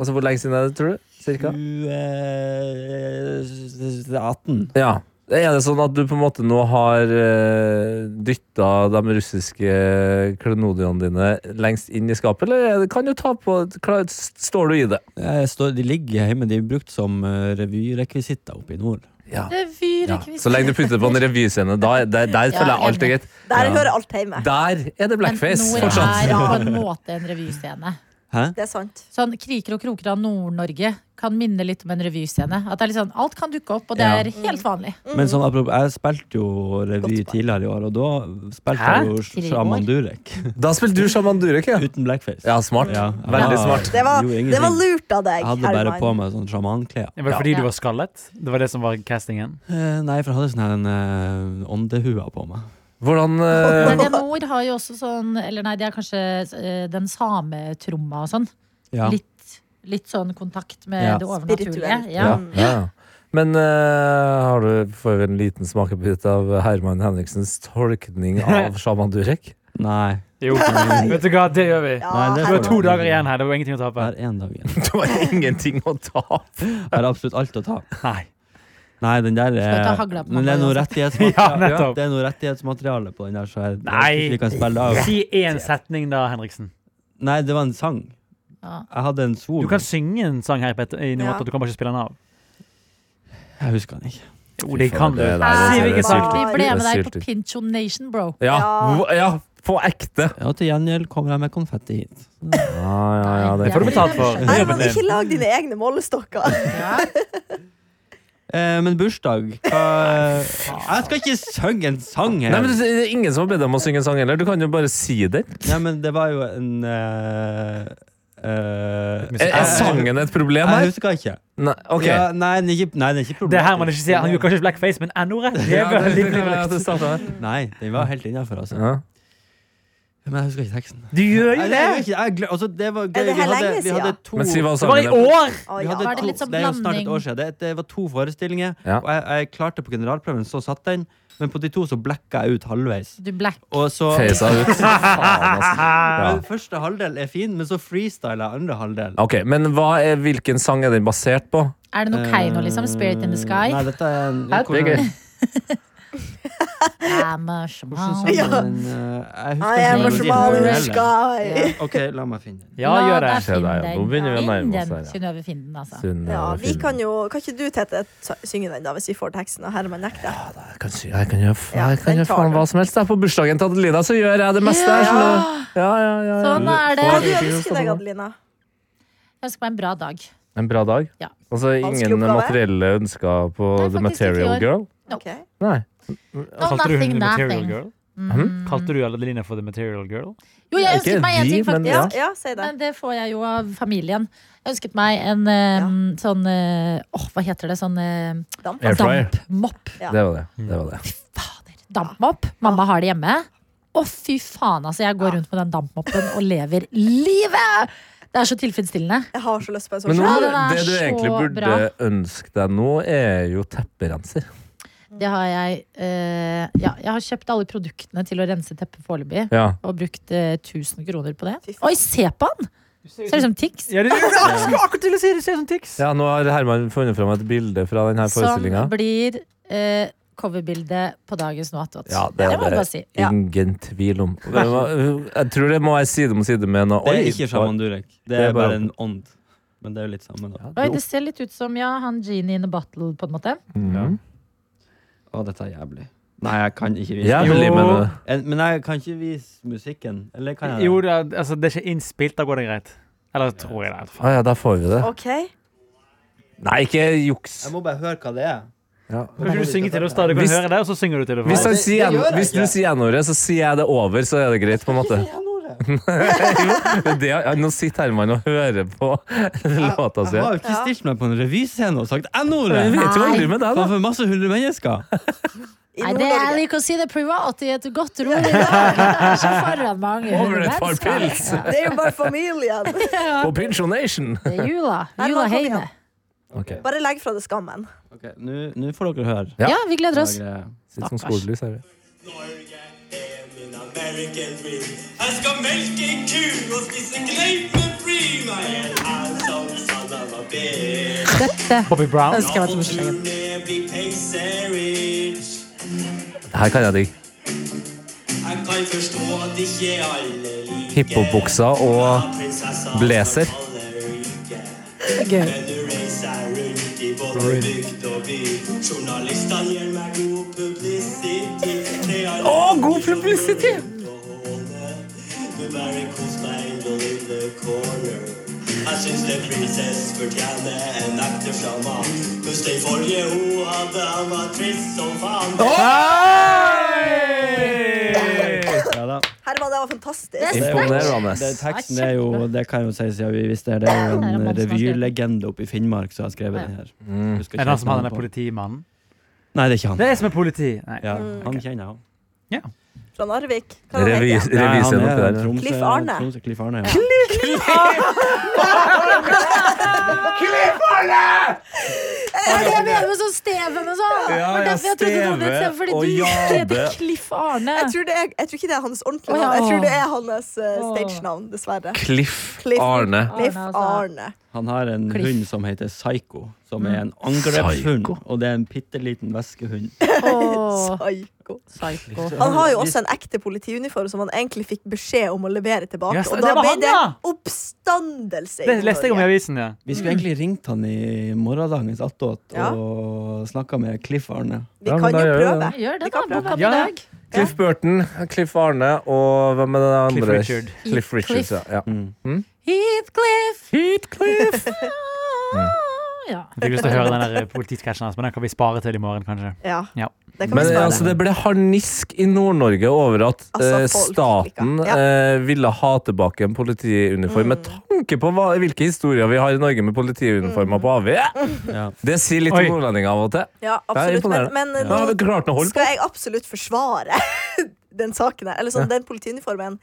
Speaker 4: Altså Hvor lenge siden er det, tror du? Cirka?
Speaker 5: Du, eh, 18.
Speaker 4: Ja. Er det sånn at du på en måte nå har uh, dytta de russiske klenodiene dine lengst inn i skapet, eller er det- kan du ta på klar, Står du i det?
Speaker 5: Jeg står, de ligger hjemme, de er brukt som eh, revyrekvisitter oppe i nord.
Speaker 4: Ja.
Speaker 2: Det fyrer
Speaker 4: ja.
Speaker 2: ikke vi
Speaker 4: Så lenge du putter det på en revyscene, da- der, der
Speaker 2: Ja,
Speaker 4: føler jeg alt er greit.
Speaker 3: der
Speaker 5: Ja.
Speaker 3: hører alt hjemme.
Speaker 4: Der er det blackface
Speaker 2: Men Nord
Speaker 4: fortsatt.
Speaker 2: er på en måte en revyscene.
Speaker 5: Hæ?
Speaker 3: Det er sant.
Speaker 2: Sånn Kriker og kroker av Nord-Norge kan minne litt om en revyscene. At det er litt sånn, Alt kan dukke opp, og det
Speaker 5: Ja.
Speaker 2: er helt vanlig.
Speaker 5: Men sånn, apropos, jeg spilte jo revy
Speaker 3: Godt poeng.
Speaker 5: tidligere i år, og da spilte
Speaker 6: Hæ?
Speaker 5: jeg jo
Speaker 2: Tidligere i
Speaker 5: Shaman
Speaker 2: år?
Speaker 5: Durek.
Speaker 4: Da spiller du sjaman Durek, ja.
Speaker 5: Uten blackface.
Speaker 4: Ja, smart.
Speaker 5: Ja,
Speaker 4: Veldig
Speaker 5: jeg var-
Speaker 4: smart.
Speaker 3: Det var,
Speaker 5: gjorde
Speaker 3: det var
Speaker 5: ingenting.
Speaker 3: lurt av deg,
Speaker 5: Jeg hadde bare
Speaker 3: Herman.
Speaker 5: på meg sånn sjamanklær.
Speaker 6: Var det fordi
Speaker 2: Ja.
Speaker 6: du var skallet? Det var det som var castingen?
Speaker 5: Eh, nei, for jeg hadde sånn her en eh, åndehua på meg.
Speaker 4: Hvordan
Speaker 2: Men
Speaker 4: eh,
Speaker 2: det nord har jo også sånn Eller nei, det er kanskje eh, den sametromma og sånn.
Speaker 5: Ja.
Speaker 2: Litt, litt sånn kontakt med
Speaker 5: Ja.
Speaker 2: det overnaturlige.
Speaker 3: Spirituelt.
Speaker 2: Ja.
Speaker 4: ja. Men eh, har du, får vi en liten smakebit av Herman Henriksens tolkning av sjaman Durek?
Speaker 5: Nei.
Speaker 6: Jo. <laughs> Vet du hva, det gjør vi.
Speaker 3: Ja,
Speaker 5: Nei, det
Speaker 6: Du
Speaker 5: er
Speaker 6: har
Speaker 3: Herman.
Speaker 6: to dager igjen her. Det var ingenting å tape.
Speaker 5: Hver en dag igjen.
Speaker 4: Det var ingenting å ta.
Speaker 5: Jeg har absolutt alt å ta.
Speaker 6: Nei.
Speaker 5: Nei, den der
Speaker 2: Skal ikke
Speaker 5: er
Speaker 2: ha hagla på
Speaker 5: Men det er noe
Speaker 2: meg,
Speaker 6: <laughs> Ja,
Speaker 5: rettighetsmateriale
Speaker 6: nettopp.
Speaker 5: Det er noe rettighetsmateriale på den der, så jeg
Speaker 6: Nei.
Speaker 5: jeg ikke kan spille av.
Speaker 6: Si én setning, da, Henriksen.
Speaker 5: Nei, det var en sang.
Speaker 2: Ja.
Speaker 5: Jeg hadde en
Speaker 6: Du
Speaker 5: sol.
Speaker 6: kan synge en sang her, Petter, i noe
Speaker 3: Ja.
Speaker 6: annet, du kan bare ikke spille den av.
Speaker 5: Jeg husker den ikke.
Speaker 6: Jo, det kan du.
Speaker 4: Det der
Speaker 6: Si
Speaker 4: er-
Speaker 6: hvilken
Speaker 3: det er
Speaker 6: sang.
Speaker 3: sykt.
Speaker 2: Vi ble med
Speaker 4: Det er
Speaker 2: deg på
Speaker 4: syltynt.
Speaker 2: Pincho Nation, bro.
Speaker 4: Ja, hvor- ja på ekte.
Speaker 5: Ja, til gjengjeld kommer jeg med konfetti hit.
Speaker 4: Ja, ja, ja, det
Speaker 2: Nei,
Speaker 6: får du betalt for.
Speaker 2: jeg-
Speaker 3: Herman,
Speaker 6: Jobben din.
Speaker 3: ikke lag dine egne målestokker.
Speaker 2: Ja.
Speaker 5: Eh, men bursdag hva Jeg skal ikke synge en sang her!
Speaker 4: Nei, men det er Ingen som har bedt deg om å synge en sang heller. Du kan jo bare si den.
Speaker 5: Nei, men det var jo en eh, eh,
Speaker 4: Er, er sangen et problem
Speaker 5: Jeg
Speaker 4: her?
Speaker 5: husker ikke.
Speaker 4: Nei, ok.
Speaker 5: Ja, nei, den er ikke, nei, den er ikke
Speaker 6: Det
Speaker 5: problematisk.
Speaker 6: her man ikke sier. Han gjorde kanskje ikke blackface, men n-ordet. Det er
Speaker 4: Ja, det-
Speaker 6: veldig
Speaker 4: det- det- det
Speaker 6: brukt.
Speaker 4: startet her.
Speaker 5: Nei, den var helt innafor, altså.
Speaker 4: Ja.
Speaker 5: Men jeg husker ikke teksten.
Speaker 6: Du gjør
Speaker 5: Nei,
Speaker 6: jo
Speaker 5: det,
Speaker 6: det!
Speaker 5: jeg, husker ikke, jeg, gle- altså, det var gøy.
Speaker 3: det her
Speaker 5: Vi hadde,
Speaker 3: lenge
Speaker 5: vi hadde
Speaker 3: siden?
Speaker 5: to
Speaker 4: Men si hva
Speaker 6: Det var
Speaker 4: sangen
Speaker 6: i
Speaker 4: er.
Speaker 6: år!
Speaker 3: Å,
Speaker 5: vi
Speaker 3: ja.
Speaker 5: hadde
Speaker 2: Var det
Speaker 5: to,
Speaker 2: litt sånn
Speaker 5: det er jo snart et
Speaker 2: blanding?
Speaker 5: år siden. Det, det var to forestillinger,
Speaker 4: Ja.
Speaker 5: og jeg, jeg klarte på generalprøven, så satt den. Men på de to så blekka jeg ut halvveis.
Speaker 2: Du black.
Speaker 5: Og så
Speaker 4: Feisa ut. Faen, altså. Ja.
Speaker 5: Første halvdel er fin, men så freestyler jeg andre halvdel.
Speaker 4: Ok, men hva er, hvilken sang er den basert på?
Speaker 2: Er det noe Keiino, liksom? Spirit liksom in the
Speaker 5: Eh, Nei,
Speaker 2: sky?
Speaker 5: dette er en
Speaker 4: Det er gøy.
Speaker 2: I'm a shaman.
Speaker 5: Hvordan
Speaker 3: Ja. Ah,
Speaker 5: sang den? eh, Jeg
Speaker 3: I am a
Speaker 5: husker ikke hva
Speaker 3: shaman in
Speaker 5: den
Speaker 3: the
Speaker 5: heter.
Speaker 3: sky.
Speaker 5: OK, la meg finne den.
Speaker 6: Ja,
Speaker 2: La
Speaker 6: gjør det.
Speaker 2: deg
Speaker 4: Se der, ja. Nå
Speaker 2: finne den.
Speaker 4: begynner vi å nærme oss
Speaker 2: Finn
Speaker 4: her,
Speaker 2: den,
Speaker 4: ja.
Speaker 2: Synnøve Finden, altså.
Speaker 4: Synd,
Speaker 3: Ja,
Speaker 4: eh,
Speaker 3: vi
Speaker 4: film.
Speaker 3: kan jo Kan ikke du, Tete, ta- synge den, da, hvis vi får teksten? Og Herman nekter.
Speaker 4: Jeg kan, sy- jeg kan gjøre, f-
Speaker 3: Ja,
Speaker 4: jeg kan
Speaker 3: den
Speaker 4: gjøre
Speaker 3: tar
Speaker 4: faen
Speaker 3: du.
Speaker 4: hva som helst. jeg. På bursdagen til Adelina så gjør jeg det meste. her, så nå- Ja, ja, ja, ja.
Speaker 2: Sånn er det.
Speaker 3: Hva
Speaker 2: Får
Speaker 3: du
Speaker 4: Får- sånn-
Speaker 3: ønsker deg, Adelina?
Speaker 2: Jeg ønsker meg en bra dag.
Speaker 4: En bra dag.
Speaker 2: Ja.
Speaker 4: Altså
Speaker 3: Vanskelig
Speaker 4: ingen
Speaker 3: oppgave.
Speaker 4: materielle ønsker på
Speaker 2: Nei,
Speaker 4: The
Speaker 2: faktisk ikke i
Speaker 4: Material
Speaker 2: år.
Speaker 4: Girl?
Speaker 2: Ja.
Speaker 3: Ok.
Speaker 4: Nei.
Speaker 2: No,
Speaker 6: Kalte du
Speaker 2: nothing,
Speaker 6: hun The Material
Speaker 2: nothing.
Speaker 6: Girl?
Speaker 2: Mm.
Speaker 6: Kalte du Adeline for The Material Girl?
Speaker 2: Jo, jeg
Speaker 4: Ikke
Speaker 2: ønsket meg en
Speaker 4: vi,
Speaker 2: ting,
Speaker 4: men
Speaker 2: faktisk.
Speaker 3: Ja,
Speaker 4: Ja.
Speaker 3: ja, si det.
Speaker 2: Men det får jeg jo av familien. Jeg ønsket meg en eh,
Speaker 3: Ja.
Speaker 2: sånn eh, Åh, hva heter det? Sånn eh,
Speaker 3: Damp.
Speaker 4: Air fryer.
Speaker 2: dampmopp.
Speaker 3: Ja.
Speaker 4: Det var det. det, var det.
Speaker 2: Fader. Dampmopp. Mamma har det hjemme. Å, fy faen, altså. Jeg går rundt med den dampmoppen og lever livet! Det er så tilfredsstillende.
Speaker 3: Jeg har så lyst på en sånn.
Speaker 4: Men nå,
Speaker 2: Ja,
Speaker 3: skjerm.
Speaker 2: den er
Speaker 4: det du
Speaker 2: så
Speaker 4: egentlig burde
Speaker 2: bra.
Speaker 4: ønske deg nå, er jo tepperenser.
Speaker 2: Det har jeg eh, Ja, jeg har kjøpt alle produktene til å rense teppet foreløpig.
Speaker 4: Ja.
Speaker 2: Og brukt eh, 1000 kroner på det.
Speaker 3: Fy faen.
Speaker 2: Oi, se på han! Ser ut som Tix.
Speaker 6: Ja, det jeg skulle akkurat til å si det! Ser ut som Tix.
Speaker 4: ja, nå har Herman funnet fram et bilde fra denne
Speaker 2: Som
Speaker 4: forestillinga.
Speaker 2: blir eh, coverbildet på dagens Noe attåt.
Speaker 4: Ja, det
Speaker 2: det,
Speaker 4: er
Speaker 2: må jeg
Speaker 4: det.
Speaker 2: bare si. Ja.
Speaker 4: Ingen tvil om. Det var- Jeg tror det må være side om side med noe.
Speaker 5: Det er
Speaker 4: Oi,
Speaker 5: ikke Shaman Durek. Det
Speaker 4: Det er
Speaker 5: er
Speaker 4: bare-
Speaker 5: bare en ånd. Men det er jo litt samme, da.
Speaker 2: Oi, det ser litt ut som ja, han Genie in a bottle, på en måte.
Speaker 4: Mhm.
Speaker 5: Å, dette er jævlig. Nei, jeg kan ikke vise
Speaker 4: Jævlig,
Speaker 6: Jo.
Speaker 4: mener du?
Speaker 5: En- Men jeg kan ikke vise musikken. Eller kan jeg
Speaker 6: Jo, det er, altså, det er ikke innspilt. Da går det greit. Eller tror jeg det.
Speaker 4: Å ja, der får vi det.
Speaker 3: OK.
Speaker 4: Nei, ikke juks.
Speaker 5: Jeg må bare høre hva det er.
Speaker 4: Ja.
Speaker 6: Kan ikke du synge til oss da? Du kan
Speaker 4: Hvis-
Speaker 6: høre det, og så synger du til det.
Speaker 4: Hvis,
Speaker 6: for
Speaker 4: han
Speaker 5: det-
Speaker 6: oss.
Speaker 4: sier,
Speaker 5: det gjør jeg
Speaker 4: hvis du
Speaker 5: ikke.
Speaker 4: sier N-ordet, så sier jeg det over, så er det greit, på en
Speaker 5: <laughs>
Speaker 4: måte. Det, er- ja, nå sitter Herman og hører
Speaker 5: <laughs>
Speaker 4: på låta si.
Speaker 5: Jeg har jo ikke stilt meg på en revyscene og sagt N-ordet!
Speaker 4: Jeg vet jo aldri med deg, da.
Speaker 5: Framfor masse hundre mennesker.
Speaker 3: I
Speaker 2: Nei, det jeg
Speaker 3: Nord-Norge.
Speaker 2: liker å si det privat i et godt rom i dag. Det er Ikke foran mange
Speaker 4: Over et par
Speaker 2: mennesker.
Speaker 4: pils
Speaker 3: Det er jo bare familien. <laughs>
Speaker 4: på Pensjonation.
Speaker 2: Det er jula.
Speaker 3: Nei,
Speaker 2: Jula
Speaker 3: men kom
Speaker 2: heime.
Speaker 3: igjen. Bare legg fra deg skammen.
Speaker 5: Ok, Nå nå får dere høre.
Speaker 4: Ja.
Speaker 2: Ja, vi gleder oss.
Speaker 4: Sitt som skolelys her.
Speaker 7: Norge er min American dream. Jeg skal melke en ku og spise gleipeprim. Jeg er en handsome son of a bitch.
Speaker 2: Dette
Speaker 6: Bobby Brown.
Speaker 2: ønsker jeg meg til bursdagen.
Speaker 7: Turné blir peiserich.
Speaker 4: Det her kan jeg digge.
Speaker 7: Jeg kan forstå at ikke alle liker
Speaker 4: Hiphop-buksa og
Speaker 7: prinsessa
Speaker 4: blazer.
Speaker 7: som alle liker.
Speaker 2: Gøy.
Speaker 7: Men nå reiser jeg rundt i både bygd og by. Journalistene gir meg god publisitet. Å, god publisitet! Du bare kos meg in the little corner. Jeg syns det prinsesse fortjener en ekte sjaman. Mens den forrige hun hadde, han var trist som faen.
Speaker 5: Ja, da.
Speaker 3: Herman, det var fantastisk.
Speaker 2: Det er
Speaker 4: Imponerende.
Speaker 5: Det, teksten er jo, det kan jeg jo si siden vi visste det. Det er jo
Speaker 2: Det er
Speaker 5: en
Speaker 2: en mann som har skrevet.
Speaker 5: revylegende oppe i Finnmark som har skrevet den her. Husker ikke
Speaker 6: Er det han
Speaker 5: helt
Speaker 6: som har
Speaker 5: navnet
Speaker 6: den der
Speaker 5: på den.
Speaker 6: politimannen?
Speaker 5: Nei, det er ikke han.
Speaker 6: Det er som er politi. Nei.
Speaker 5: Ja, han kjenner jeg òg.
Speaker 3: Fra Narvik. Hva heter
Speaker 4: Revi-
Speaker 3: han?
Speaker 4: Reviseren oppi der. ja.
Speaker 5: Tromsø,
Speaker 3: Cliff Arne.
Speaker 5: Tromsø, Cliff Arne ja.
Speaker 2: Det er det jeg mener med sånn Steven og sånn. Det
Speaker 4: Ja,
Speaker 2: var
Speaker 4: ja,
Speaker 2: derfor jeg trodde du het Steven,
Speaker 4: Steve og
Speaker 2: fordi du
Speaker 4: Jade.
Speaker 2: heter Cliff Arne.
Speaker 3: Jeg tror, det er, jeg tror ikke det er hans ordentlige
Speaker 2: Å, ja.
Speaker 3: navn. Jeg tror det er hans eh,
Speaker 2: Å.
Speaker 3: stage-navn, dessverre.
Speaker 4: Cliff
Speaker 3: Cliff.
Speaker 4: Arne.
Speaker 3: Cliff
Speaker 2: Arne, altså.
Speaker 3: Arne.
Speaker 5: Han har en
Speaker 2: Cliff.
Speaker 5: hund som heter Psycho, som er en angrepshund. Og det er en bitte liten veskehund.
Speaker 2: Åh,
Speaker 3: Psyko.
Speaker 2: psyko.
Speaker 3: Han har jo også en ekte politiuniform som han egentlig fikk beskjed om å levere tilbake.
Speaker 6: Ja, så-
Speaker 3: og
Speaker 6: det
Speaker 3: da
Speaker 6: var
Speaker 3: ble
Speaker 6: han,
Speaker 3: det
Speaker 6: ja!
Speaker 3: oppstandelse
Speaker 6: Det leste jeg om i
Speaker 3: Norge.
Speaker 6: avisen, ja.
Speaker 5: Vi skulle egentlig ringt han i morgendagens attåt
Speaker 3: Ja.
Speaker 5: og snakka med Cliff Arne.
Speaker 3: Vi
Speaker 4: Ja, men
Speaker 3: kan
Speaker 4: da
Speaker 3: jo
Speaker 4: gjør vi
Speaker 3: prøve. Vi
Speaker 2: Gjør det,
Speaker 3: kan
Speaker 2: da.
Speaker 3: prøve.
Speaker 2: Bok opp i
Speaker 6: Ja, ja.
Speaker 2: dag.
Speaker 4: Cliff Burton, Cliff Arne og hvem er det andre?
Speaker 6: Cliff Richard.
Speaker 4: Cliff Richards, ja. ja.
Speaker 2: Heathcliff. <laughs>
Speaker 4: Heathcliff.
Speaker 2: Ah, Ja.
Speaker 6: Jeg fikk lyst til å høre den der politisketsjen hans, men den kan vi spare til i morgen, kanskje.
Speaker 3: Ja,
Speaker 6: Ja.
Speaker 3: det kan
Speaker 4: Men
Speaker 3: vi spørre.
Speaker 4: altså, det ble harnisk i Nord-Norge over at
Speaker 3: Altså,
Speaker 4: eh,
Speaker 3: folk
Speaker 4: staten
Speaker 3: liker. Ja. Mm.
Speaker 4: eh, ville ha tilbake en politiuniform. Med tanke på hva, hvilke historier vi har i Norge med politiuniformer på AV.
Speaker 5: Ja.
Speaker 4: Det sier litt
Speaker 6: Oi.
Speaker 4: om nordlendinger av og til.
Speaker 3: Mm. ja,
Speaker 4: Ja,
Speaker 3: absolutt. Men,
Speaker 4: imponerende.
Speaker 3: men eh,
Speaker 4: Da har vi
Speaker 3: nå
Speaker 4: klart å holde på.
Speaker 3: skal jeg absolutt forsvare <laughs> den saken her. Eller sånn, den politiuniformen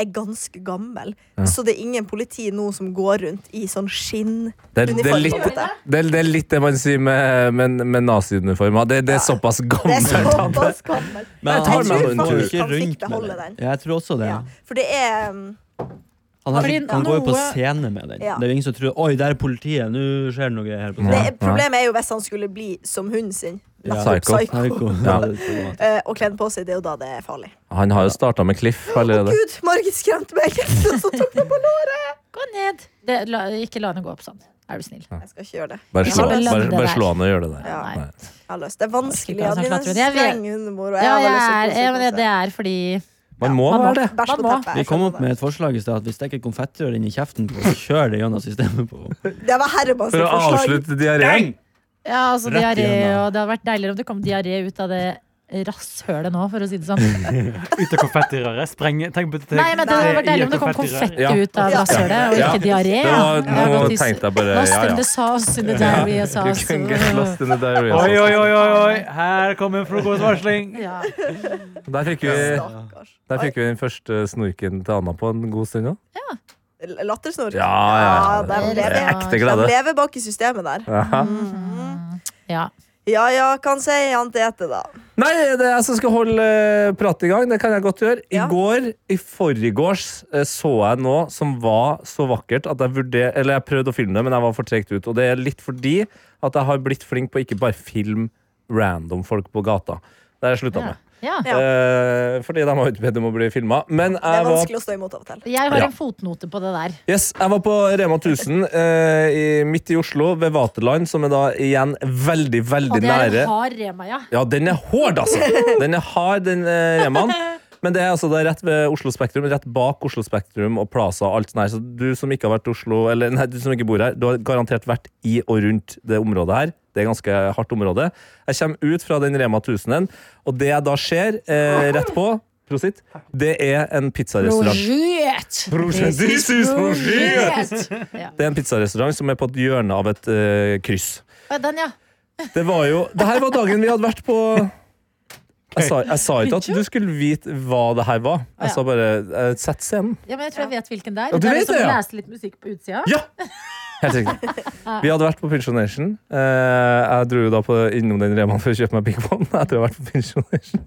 Speaker 3: er ganske gammel, så det er ingen politi nå som går rundt i sånn skinn.
Speaker 4: Det, er- det, er
Speaker 3: Uniform,
Speaker 4: litt,
Speaker 3: på en måte.
Speaker 4: det, er- det er litt det man sier med, med, med naziuniformer. Det, det er såpass
Speaker 3: Det er
Speaker 4: gammelt. at det-
Speaker 3: såpass gammelt.
Speaker 5: Men
Speaker 4: Jeg tar
Speaker 5: han
Speaker 4: meg
Speaker 5: får
Speaker 4: en tur.
Speaker 5: ikke
Speaker 3: Han fikk
Speaker 5: rundt med
Speaker 3: beholde
Speaker 5: det.
Speaker 3: den.
Speaker 5: Ja, Jeg tror også det.
Speaker 3: Ja, for det er um,
Speaker 5: Han her,
Speaker 2: Fordi
Speaker 5: han går jo på
Speaker 2: noe-
Speaker 5: scene med den.
Speaker 3: Ja.
Speaker 5: Det er jo ingen som tror Oi, der er politiet, nå skjer det noe greier her på
Speaker 4: Ja.
Speaker 5: scenen.
Speaker 3: Det, problemet er jo hvis han skulle bli som hunden sin.
Speaker 5: Ja.
Speaker 4: Psycho.
Speaker 3: Psycho.
Speaker 5: Psycho. Ja, det er problematisk.
Speaker 3: eh, Og kledd på seg. Det er jo da det er farlig.
Speaker 4: Han har jo starta med Cliff
Speaker 3: Å,
Speaker 4: allerede.
Speaker 3: Gud, Margit skremte meg! <laughs> Og så tok hun på låret!
Speaker 2: Gå ned! Det, la, ikke la henne gå opp sånn. Er du snill.
Speaker 3: Jeg skal ikke gjøre det.
Speaker 4: Bare slå,
Speaker 2: Ja,
Speaker 4: bare,
Speaker 2: det
Speaker 4: bare
Speaker 2: der.
Speaker 4: slå han og gjør det der.
Speaker 3: Ja.
Speaker 2: Nei.
Speaker 4: Nei.
Speaker 3: Jeg har lyst. Det er vanskelig.
Speaker 2: Jeg orker ikke å ha sånn
Speaker 3: Adeline er en
Speaker 2: flatbrød. Jeg vet-
Speaker 3: streng hundemor.
Speaker 2: Ja, jeg er, jeg, men det er fordi
Speaker 4: Man må
Speaker 2: Man må.
Speaker 4: være det.
Speaker 3: Bæsj på
Speaker 2: Man må.
Speaker 3: teppet. sånn
Speaker 5: Vi
Speaker 3: jeg
Speaker 5: kom
Speaker 3: skjønner
Speaker 5: opp med et forslag i stad at vi stikker konfettirør inn i kjeften på og kjører det gjennom systemet på
Speaker 3: det. Det var Hermans
Speaker 4: For å
Speaker 3: forslag.
Speaker 4: avslutte diareen.
Speaker 2: Ja, altså
Speaker 5: Rett
Speaker 2: diaré,
Speaker 5: igjennom.
Speaker 2: og det hadde vært deiligere om det kom diaré ut av det rasshølet nå, for å si det sånn.
Speaker 6: Ut av konfettirøret. Spreng Tenk på tenk-
Speaker 2: Nei, men det hadde vært
Speaker 6: i
Speaker 2: deilig om det kom
Speaker 6: konfettirøret.
Speaker 2: konfetti ut av
Speaker 3: Ja.
Speaker 2: rasshølet, og
Speaker 4: Ja.
Speaker 2: ikke diaré.
Speaker 4: Det
Speaker 2: ja.
Speaker 4: var,
Speaker 2: Jeg har
Speaker 4: nå
Speaker 2: gått i-
Speaker 4: tenkte jeg bare
Speaker 2: Lost
Speaker 4: ja,
Speaker 2: in
Speaker 4: ja.
Speaker 2: the sauce, in the diarrhea
Speaker 4: You
Speaker 2: sauce.
Speaker 4: can get lost in the diarrhea.
Speaker 6: Oi,
Speaker 4: sauce.
Speaker 6: oi, oi, oi, oi. her kommer frokostvarsling!
Speaker 2: Ja.
Speaker 4: Der fikk vi,
Speaker 3: Stakkars.
Speaker 4: der fikk vi den første snorken til Anna på en god stund òg.
Speaker 3: L- Lattersnor.
Speaker 4: Ja, ja, ja.
Speaker 3: de
Speaker 4: Det er
Speaker 3: lever.
Speaker 4: ekte
Speaker 3: De
Speaker 4: glede.
Speaker 3: lever bak i systemet der.
Speaker 4: Ja.
Speaker 2: ja.
Speaker 3: Ja ja, kan si han Tete, da.
Speaker 4: Nei, det er jeg som skal holde eh, pratet i gang. Det kan jeg godt gjøre. I
Speaker 3: Ja.
Speaker 4: går, i forgårs, eh, så jeg noe som var så vakkert at jeg vurder- Eller jeg prøvde å filme det, men jeg var for tregt ut. Og det er litt fordi at jeg har blitt flink på ikke bare film random folk på gata. Det har jeg slutta
Speaker 2: Ja.
Speaker 4: med.
Speaker 2: ja.
Speaker 3: Ja.
Speaker 4: Eh, fordi de har jo ikke bedt om å bli filma. Men
Speaker 3: Det
Speaker 4: jeg
Speaker 3: er
Speaker 4: var
Speaker 3: vanskelig å stå imot av og til.
Speaker 2: Jeg har
Speaker 4: Ja.
Speaker 2: en fotnote på det der.
Speaker 4: Yes, jeg var på Rema 1000 eh, i, midt i Oslo, ved Vaterland, som er da igjen veldig, veldig
Speaker 2: Og det er
Speaker 4: nære.
Speaker 2: en hard rema, ja.
Speaker 4: Ja, den er hård, altså! Den er hard, den eh, Remaen. Men det er altså da rett ved Oslo Spektrum, rett bak Oslo Spektrum og Plaza og alt sånt her. Så du som ikke har vært i Oslo, eller nei, du som ikke bor her, du har garantert vært i og rundt det området her. Det er ganske hardt område. Jeg kommer ut fra den Rema 1000-en, og det jeg da ser eh, rett på, prosit, det er en pizzarestaurant.
Speaker 2: Prosjekt!
Speaker 4: Prosjekt. This is
Speaker 2: Ja.
Speaker 4: Det er en pizzarestaurant som er på et hjørne av et eh, kryss.
Speaker 2: Å, Den, ja.
Speaker 4: Det var jo Det her var dagen vi hadde vært på jeg sa, jeg sa ikke at du skulle vite hva det her var. Jeg sa bare eh, Sett scenen.
Speaker 2: ja, men jeg tror jeg vet hvilken det er.
Speaker 4: Ja, du
Speaker 2: det er
Speaker 4: vet
Speaker 2: liksom
Speaker 4: det, ja.
Speaker 2: leste litt musikk på utsida.
Speaker 4: Ja! Helt riktig. Vi hadde vært på Pensjonation. Eh, jeg dro jo da på, innom den Remaen for å kjøpe meg Big One. Etter å ha vært på Pensjonation.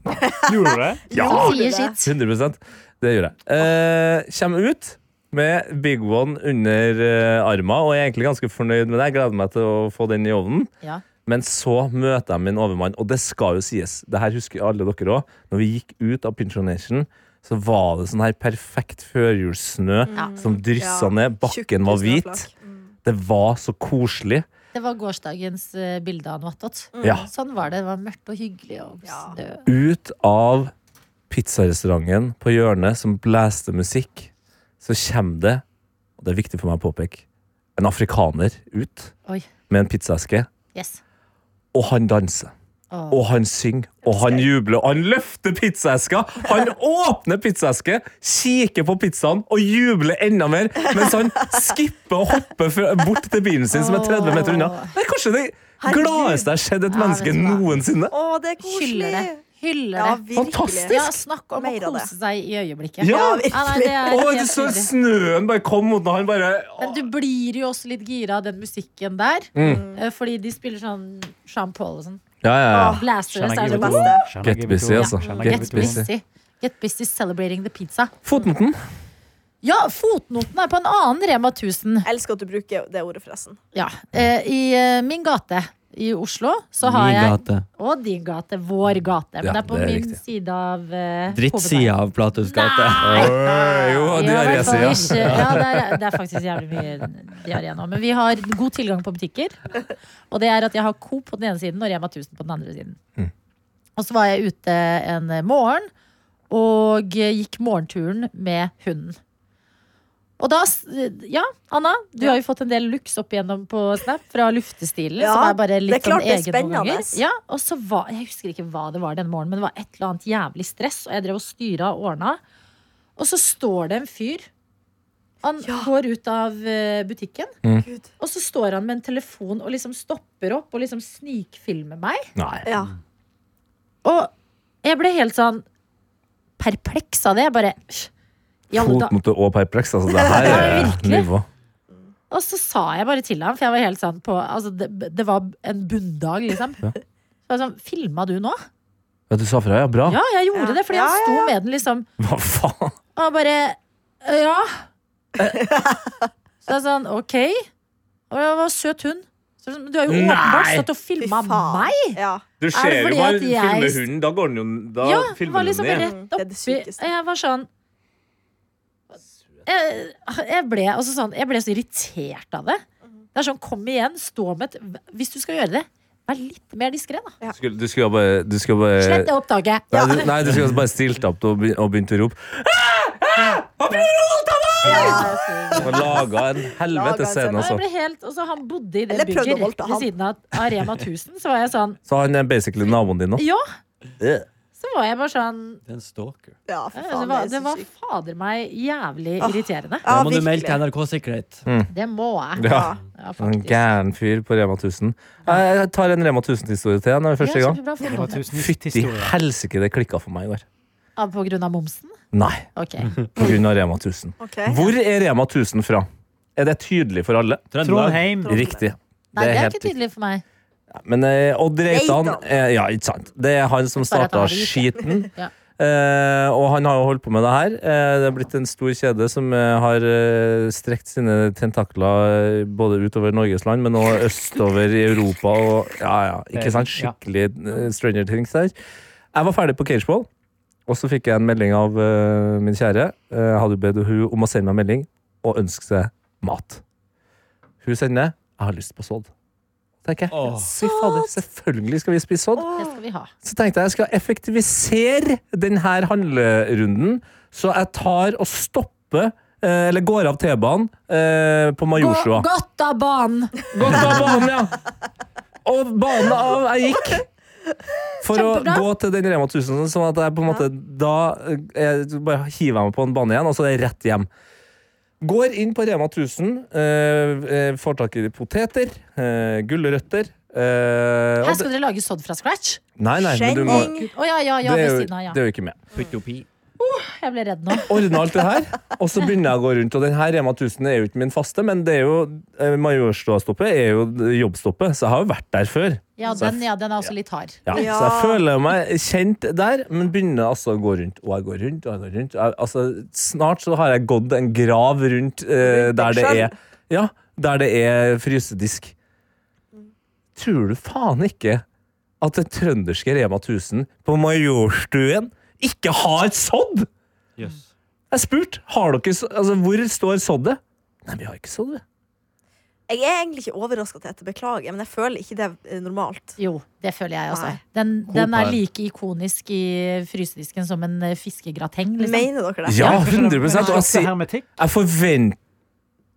Speaker 6: Gjorde du det?
Speaker 4: Ja!
Speaker 2: Sier sitt.
Speaker 4: 100 Det gjør jeg. Eh, Kjem ut med Big One under eh, armen og er egentlig ganske fornøyd med det. Jeg gleder meg til å få den i ovnen.
Speaker 2: Ja.
Speaker 4: Men så møter jeg min overmann, og det skal jo sies. Det her husker alle dere òg. Når vi gikk ut av Pinchonation, så var det sånn her perfekt førjulssnø som dryssa
Speaker 3: Ja.
Speaker 4: ned. Bakken var
Speaker 3: Tjukke
Speaker 4: hvit.
Speaker 3: snøflak. Mm.
Speaker 4: Det var så koselig.
Speaker 2: Det var gårsdagens eh, bilde av Noatot.
Speaker 3: Mm.
Speaker 4: Mm. Ja.
Speaker 2: Sånn var det. Det var mørkt og hyggelig. Og
Speaker 3: Ja.
Speaker 2: snø.
Speaker 4: Ut av pizzarestauranten på hjørnet som blæste musikk, så kommer det, og det er viktig for meg å påpeke, en afrikaner ut
Speaker 2: Oi.
Speaker 4: med en pizzaeske,
Speaker 2: Yes.
Speaker 4: og han danser.
Speaker 2: Å.
Speaker 4: Og han synger, og han jubler, og han løfter pizzaeska!
Speaker 2: <laughs>
Speaker 4: Han åpner pizzaeske, kikker på pizzaen og jubler enda mer, mens han skipper og hopper fra- bort til bilen sin, som er 30 meter unna. Det er kanskje det gladeste jeg har sett et
Speaker 2: Ja,
Speaker 4: menneske
Speaker 2: vet du hva.
Speaker 4: noensinne.
Speaker 3: Å, det er koselig!
Speaker 2: Hyller det. Hyller
Speaker 3: Ja,
Speaker 2: det.
Speaker 3: virkelig.
Speaker 4: Fantastisk.
Speaker 2: Ja, snakk om å
Speaker 3: Mer av
Speaker 2: kose
Speaker 3: det.
Speaker 2: seg i øyeblikket.
Speaker 4: Ja,
Speaker 3: virkelig.
Speaker 2: nei, det er
Speaker 4: Og du
Speaker 2: helt
Speaker 4: så
Speaker 2: nydelig.
Speaker 4: snøen bare kom mot den, og han bare
Speaker 2: Men du blir jo også litt gira av den musikken der.
Speaker 4: Mm.
Speaker 2: eh, Fordi de spiller sånn Sean Paul og sånn.
Speaker 4: Ja, ja, ja.
Speaker 2: Blaster, så
Speaker 6: Shall I
Speaker 2: er
Speaker 6: give
Speaker 2: det
Speaker 6: it to-
Speaker 2: sånn,
Speaker 6: shall I
Speaker 4: Get
Speaker 6: give it to-
Speaker 4: busy, altså.
Speaker 6: shall I give it
Speaker 2: Get
Speaker 6: to-
Speaker 2: busy. Get busy celebrating the pizza.
Speaker 4: Fotnoten.
Speaker 2: Ja, fotnoten er på en annen Rema 1000.
Speaker 3: Jeg elsker at du bruker det ordet, forresten.
Speaker 2: Ja, eh, I eh, min gate i Oslo så har
Speaker 5: Min
Speaker 2: jeg
Speaker 5: gate.
Speaker 2: Og din gate. Vår gate. Men
Speaker 4: Ja,
Speaker 2: det er på
Speaker 4: det er
Speaker 2: min
Speaker 4: riktig.
Speaker 2: side av eh, hovedveien.
Speaker 5: Drittsida av Platos gate.
Speaker 4: Oi, Jo,
Speaker 2: Ja, i hvert fall
Speaker 4: diarésida.
Speaker 2: ikke- Ja, det er, det er faktisk jævlig mye diaré nå. Men vi har god tilgang på butikker. Og det er at jeg har Coop på den ene siden og Rema 1000 på den andre siden. Og så var jeg ute en morgen og gikk morgenturen med hunden. Og da s- Ja, Anna, du har jo fått en del looks opp igjennom på Snap fra luftestilen.
Speaker 3: Ja,
Speaker 2: som er bare litt
Speaker 3: det er klart
Speaker 2: sånn
Speaker 3: det er
Speaker 2: egen noen
Speaker 3: spennende.
Speaker 2: ganger. Ja, og så var, Jeg husker ikke hva det var den morgenen, men det var et eller annet jævlig stress. Og jeg drev og styra og ordna. Og så står det en fyr. Han går ut av eh, butikken,
Speaker 4: Mm.
Speaker 3: Gud.
Speaker 2: og så står han med en telefon og liksom stopper opp og liksom snikfilmer meg.
Speaker 4: Nei.
Speaker 3: Ja.
Speaker 2: Og jeg ble helt sånn perpleks av det. Jeg bare «Hysj, i alle da-»
Speaker 4: Fotnote og perplex, altså. Det her
Speaker 2: Ja,
Speaker 4: er
Speaker 2: virkelig.
Speaker 4: nivå.
Speaker 2: Og så sa jeg bare til ham, for jeg var helt sånn på altså, det, det var en bunndag, liksom.
Speaker 4: Ja.
Speaker 2: Så jeg var sånn, Filma du nå?
Speaker 4: Ja, du sa fra, ja. Bra.
Speaker 2: Ja, jeg gjorde
Speaker 3: Ja.
Speaker 2: det, fordi
Speaker 3: Ja,
Speaker 2: han
Speaker 3: ja,
Speaker 2: sto med den, liksom.
Speaker 4: Hva faen?
Speaker 3: <laughs>
Speaker 2: Og han bare Ja. Så det er sånn, ok Og det var en søt hund Så det er sånn, Du har jo åpenbart
Speaker 4: Nei.
Speaker 2: stått og
Speaker 3: Fy
Speaker 2: filmet
Speaker 3: faen.
Speaker 2: meg
Speaker 3: Ja.
Speaker 4: Du
Speaker 2: ser det jo fordi bare at jeg- filmer
Speaker 4: hunden, da går den jo Da
Speaker 2: Ja, det var liksom
Speaker 3: Mm,
Speaker 2: rett
Speaker 3: det er det
Speaker 2: oppi
Speaker 3: sykeste.
Speaker 2: Og jeg var sånn jeg, jeg, ble, altså sånn, jeg ble så irritert av det Det er sånn, kom igjen, stå med et Hvis du skal gjøre det, vær litt mer diskret da
Speaker 4: Du skulle, du skulle bare, du skulle bare
Speaker 2: Slett det opptaket
Speaker 4: Nei, du, nei, du skulle bare stilt opp og be- og begynt å rope. ah! Og laga en
Speaker 3: Laget en
Speaker 4: helvetes
Speaker 3: scene.
Speaker 4: scene,
Speaker 2: Og jeg
Speaker 4: altså.
Speaker 2: ble helt, og så han bodde i det
Speaker 3: Eller prøvde
Speaker 2: bygget
Speaker 3: å
Speaker 2: rett
Speaker 3: voldta
Speaker 2: ved
Speaker 3: han.
Speaker 2: siden av, av Rema 1000 Så var jeg sånn,
Speaker 4: Så han er basically naboen din nå?
Speaker 2: ja
Speaker 4: Øh.
Speaker 2: Så var jeg bare sånn
Speaker 5: Det er en stalker.
Speaker 3: Ja, for
Speaker 2: ja,
Speaker 3: faen,
Speaker 2: Det var,
Speaker 3: det
Speaker 2: det
Speaker 3: er så
Speaker 2: var
Speaker 3: sykt.
Speaker 2: fader meg jævlig
Speaker 3: Åh.
Speaker 2: irriterende
Speaker 5: Da
Speaker 3: Ja,
Speaker 5: må du melde til
Speaker 3: virkelig.
Speaker 5: NRK Sikkerhet.
Speaker 4: Mm.
Speaker 2: Det må jeg
Speaker 4: Ja.
Speaker 3: Ja.
Speaker 2: ja,
Speaker 4: En
Speaker 2: faktisk.
Speaker 4: gæren fyr på Rema 1000. Jeg tar en Rema 1000-historie til når vi først er i
Speaker 2: Ja,
Speaker 4: gang.
Speaker 2: kjempebra, få
Speaker 6: Det
Speaker 2: på
Speaker 6: var
Speaker 2: det.
Speaker 6: tusen
Speaker 4: Fytti
Speaker 6: historier.
Speaker 4: helsike, det klikka for meg i går.
Speaker 2: Ah, På grunn av momsen?
Speaker 4: Nei, <laughs>
Speaker 2: Ok.
Speaker 4: på grunn av Rema 1000.
Speaker 3: Ok.
Speaker 4: Hvor er Rema 1000 fra? Er det tydelig for alle?
Speaker 3: Trondheim.
Speaker 6: Trondheim.
Speaker 4: Riktig.
Speaker 2: Nei, det er
Speaker 4: helt
Speaker 2: ikke tydelig for meg.
Speaker 4: riktig. Men eh, Odd Reitan
Speaker 3: Reitan.
Speaker 4: eh, Ja, ikke sant. Det er han som
Speaker 2: Bare at
Speaker 4: starta
Speaker 2: han har det ikke.
Speaker 4: skiten.
Speaker 2: Ja.
Speaker 4: Eh, og han har jo holdt på med det her. Eh, det er blitt en stor kjede som eh, har eh, strekt sine tentakler eh, både utover Norges land, men også østover i Europa og Ja, ja. Ikke sant?
Speaker 6: Ja.
Speaker 4: Skikkelig eh, Stranger Things der. Jeg var ferdig på cageball, og så fikk jeg en melding av eh, min kjære. Eh, Jeg hadde bedt hun om å sende meg en melding og ønske seg mat. Hun sender 'Jeg har lyst på sodd'. Tenker jeg.
Speaker 5: Åh.
Speaker 4: Fy fader, selvfølgelig skal vi spise sodd.
Speaker 2: Det skal vi ha.
Speaker 4: Så tenkte jeg jeg skal effektivisere denne handlerunden, så jeg tar og stopper eh, eller går av T-banen eh, på Majorstua.
Speaker 2: godt av banen!
Speaker 4: Gått av banen, ja! Og banen av jeg gikk. For
Speaker 2: Kjempebra.
Speaker 4: å gå til den Rema 1000, sånn at jeg på en måte da eh, jeg bare hiver jeg meg på en bane igjen, og så er det rett hjem. Går inn på Rema 1000, eh, eh, får tak i poteter, eh, gulrøtter eh, og
Speaker 2: Her
Speaker 4: det-
Speaker 2: skal dere lage sodd fra scratch?
Speaker 4: Nei, nei, men du må
Speaker 3: Skjenning.
Speaker 2: Å ja, ja,
Speaker 4: det,
Speaker 2: ja, ved
Speaker 4: er jo,
Speaker 2: siden av. Ja.
Speaker 4: det er jo ikke med.
Speaker 2: Jeg ble redd nå.
Speaker 4: ordna alt det her, og så begynner jeg å gå rundt. Og den her Rema 1000 er jo ikke min faste, men det er jo eh, Majorstua-stoppet er jo jobbstoppet, så jeg har jo vært der før.
Speaker 2: Ja,
Speaker 4: Så jeg-
Speaker 2: den, ja, den er også litt hard.
Speaker 4: Ja,
Speaker 3: Ja.
Speaker 4: Så jeg føler meg kjent der, men begynner altså å gå rundt. Og jeg går rundt, og jeg går rundt. Jeg, altså, snart så har jeg gått en grav rundt eh,
Speaker 3: Rundt
Speaker 4: der, det
Speaker 3: deg
Speaker 4: er, ja, der det er frysedisk. Tror du faen ikke at det trønderske Rema 1000 på Majorstuen ikke har sodd?
Speaker 5: Jøss.
Speaker 4: Jeg spurte har dere, s- altså, hvor står soddet. Nei, vi har ikke sodd. vi.
Speaker 3: Jeg er egentlig ikke overraska til dette, beklager, men jeg føler ikke det er normalt.
Speaker 2: Jo, det føler jeg også.
Speaker 3: Nei.
Speaker 2: Den, den
Speaker 4: her.
Speaker 2: er like ikonisk i frysedisken som en eh, fiskegrateng. Liksom.
Speaker 3: Mener dere det?
Speaker 4: Ja, 100 Og jeg,
Speaker 6: Slags
Speaker 4: sier-
Speaker 6: hermetikk.
Speaker 4: jeg forventer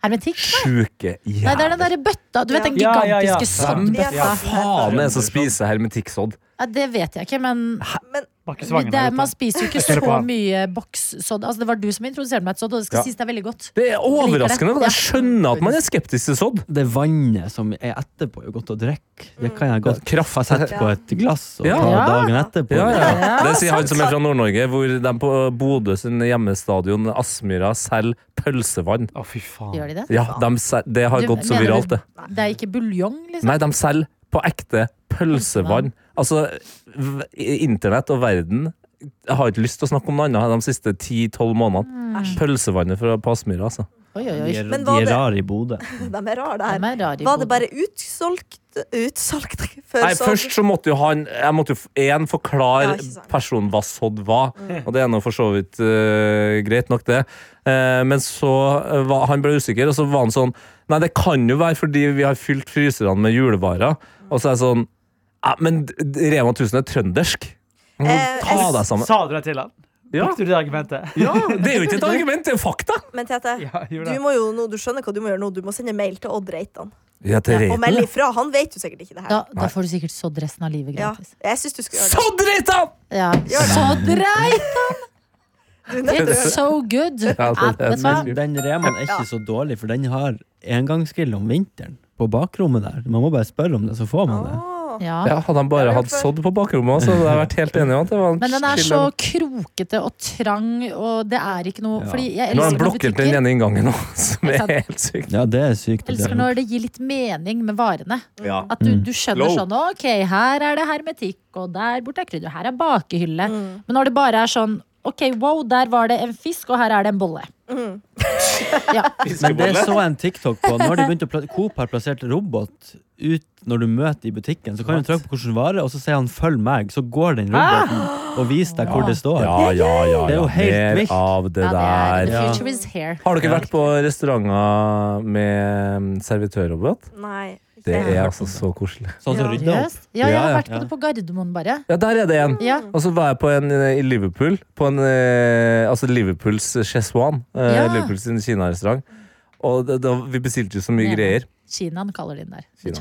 Speaker 2: Hermetikk?
Speaker 4: sjuke
Speaker 2: Nei, det er den
Speaker 4: jævler.
Speaker 2: derre bøtta. Du vet den
Speaker 6: Ja, ja, ja.
Speaker 2: gigantiske soddbøtta?
Speaker 3: Ja.
Speaker 4: Faen, jeg som spiser hermetikkssodd.
Speaker 2: Ja, det vet jeg ikke, men
Speaker 3: Men
Speaker 6: Bakkesvangen
Speaker 2: det,
Speaker 6: har
Speaker 2: er- man
Speaker 6: gjort det.
Speaker 2: spiser jo ikke
Speaker 6: Jeg ser det på
Speaker 2: så
Speaker 6: han.
Speaker 2: mye bokssodd. Altså, det var du som introduserte meg et sodd, og det skal
Speaker 4: Ja.
Speaker 2: sies det er veldig godt.
Speaker 4: Det er overraskende. men Jeg skjønner at man er skeptisk til sodd.
Speaker 5: Det vannet som er etterpå, er jo godt å drikke. Det
Speaker 3: Mm.
Speaker 5: kan jeg godt
Speaker 4: Kraft
Speaker 5: sette på et glass og
Speaker 4: Ja.
Speaker 5: ta
Speaker 2: Ja.
Speaker 5: dagen etterpå.
Speaker 4: Ja, ja. Det sier han som er fra Nord-Norge, hvor de på Bodø sin hjemmestadion Aspmyra selger pølsevann.
Speaker 6: Å, fy faen.
Speaker 2: Gjør de det?
Speaker 4: Ja, de sel- det har
Speaker 2: Du
Speaker 4: gått så
Speaker 2: mener du-
Speaker 4: viralt, det.
Speaker 2: Det er ikke buljong, liksom?
Speaker 4: Nei, de selger på ekte pølsevann. Altså, v- internett og verden jeg har ikke lyst til å snakke om noe annet de siste 10-12 månedene. Pølsevannet fra Pasmyra, altså.
Speaker 2: Oi, oi,
Speaker 5: De
Speaker 2: oi.
Speaker 5: er,
Speaker 3: Men
Speaker 5: de
Speaker 3: var
Speaker 5: er
Speaker 3: det-
Speaker 5: rare i Bodø.
Speaker 3: <laughs> de er rare, det
Speaker 2: De
Speaker 3: her.
Speaker 2: er rare i
Speaker 3: Var det
Speaker 2: Bodø.
Speaker 3: bare utsolgt Utsolgt før
Speaker 4: Nei,
Speaker 3: så-
Speaker 4: først
Speaker 3: <laughs>
Speaker 4: så måtte jo han Jeg måtte jo én
Speaker 3: Ja,
Speaker 4: forklare
Speaker 3: ikke sant.
Speaker 4: personen hva sodd var, og det er nå for så vidt eh, greit nok, det. Eh, men så eh, var han ble usikker, og så var han sånn Nei, det kan jo være fordi vi har fylt fryserne med julevarer. Og så er jeg sånn ja, Men d- d- Rema 1000 er trøndersk. Må
Speaker 3: Eh,
Speaker 4: Ta
Speaker 3: jeg-
Speaker 4: deg sammen.
Speaker 6: Sa du det til han?
Speaker 4: Ja.
Speaker 6: Brukte du det argumentet?
Speaker 4: Ja, Det er jo ikke et argument, det er fakta!
Speaker 3: Men Tete,
Speaker 6: <laughs> Ja, gjorde
Speaker 3: du,
Speaker 6: det.
Speaker 3: må jo nå, du skjønner hva du må gjøre nå. Du må sende mail til Odd Reitan.
Speaker 4: Ja, til
Speaker 3: Og melde ifra. Han vet jo sikkert ikke det
Speaker 2: Da,
Speaker 3: her.
Speaker 2: da får du sikkert sådd resten av livet
Speaker 3: Ja,
Speaker 2: gratis.
Speaker 3: jeg syns du skulle gjøre det.
Speaker 4: Sånn, Reitan!
Speaker 2: Ja.
Speaker 3: Gjør det.
Speaker 2: Sådd reit!
Speaker 3: <laughs> Du er nødt til å gjøre
Speaker 2: It's
Speaker 3: det.
Speaker 2: so good!
Speaker 4: Ja,
Speaker 2: Ja,
Speaker 4: det er
Speaker 2: vet du hva?
Speaker 4: veldig-
Speaker 5: Den Remaen er ikke så dårlig, for den har engangsgrill om vinteren på bakrommet der. Man må bare spørre om det, så får man det.
Speaker 3: Åh.
Speaker 2: Ja.
Speaker 4: Ja, Hadde han bare hatt sodd på bakrommet, så hadde jeg vært helt enig. om at det var en
Speaker 2: Men den er
Speaker 4: chill-
Speaker 2: så krokete og trang, og det er ikke noe
Speaker 5: Ja.
Speaker 2: Fordi
Speaker 4: Nå
Speaker 2: jeg
Speaker 4: har han
Speaker 2: elsker når
Speaker 4: blokket den
Speaker 2: butikker
Speaker 4: ene inngangen nå, <laughs> som
Speaker 2: Ikke
Speaker 4: er
Speaker 2: sant?
Speaker 4: helt sykt.
Speaker 5: Ja, det er sykt. å
Speaker 2: elsker
Speaker 4: <laughs>
Speaker 5: dele opp.
Speaker 2: når det gir litt mening med varene.
Speaker 4: Ja.
Speaker 2: At du, du skjønner
Speaker 4: Mm. Low.
Speaker 2: sånn OK, her er det hermetikk, og der borte er krydder, her er
Speaker 3: Mm. Mm.
Speaker 2: bakehylle. Men når det bare er sånn OK, wow, der var det en fisk, og her er det en bolle. Ja.
Speaker 5: Men det så jeg en TikTok på. Når de begynte å pla Coop har plassert robot ut når du møter i butikken, så kan du trykke på hvilken vare, og så sier han 'følg meg', så går den
Speaker 2: Ah!
Speaker 5: roboten og viser deg hvor det står.
Speaker 4: Ja, ja, ja.
Speaker 5: Det er jo
Speaker 4: ja.
Speaker 5: helt
Speaker 4: Mer
Speaker 5: vilt.
Speaker 4: av det
Speaker 2: Ja, det
Speaker 4: der.
Speaker 2: er, the
Speaker 5: Ja.
Speaker 2: future is here.
Speaker 4: Har dere vært på restauranter med servitørrobot?
Speaker 3: Nei. ikke
Speaker 4: Det
Speaker 3: jeg.
Speaker 4: er altså så koselig.
Speaker 5: Sånn som
Speaker 3: Ja.
Speaker 5: rydder opp.
Speaker 2: Seriøst? Ja, jeg har
Speaker 4: Ja, ja,
Speaker 2: vært på det på Gardermoen, bare.
Speaker 4: Ja, der er det en.
Speaker 2: Ja.
Speaker 4: Og så var jeg på en eh, i Liverpool, på en, eh, altså Liverpools Cheswan. Eh,
Speaker 2: Ja.
Speaker 4: Liverpools sin Kina-restaurant. Og det, da, vi bestilte jo så mye
Speaker 2: Ja.
Speaker 4: greier.
Speaker 2: Kinaen kaller de den der.
Speaker 4: Kina.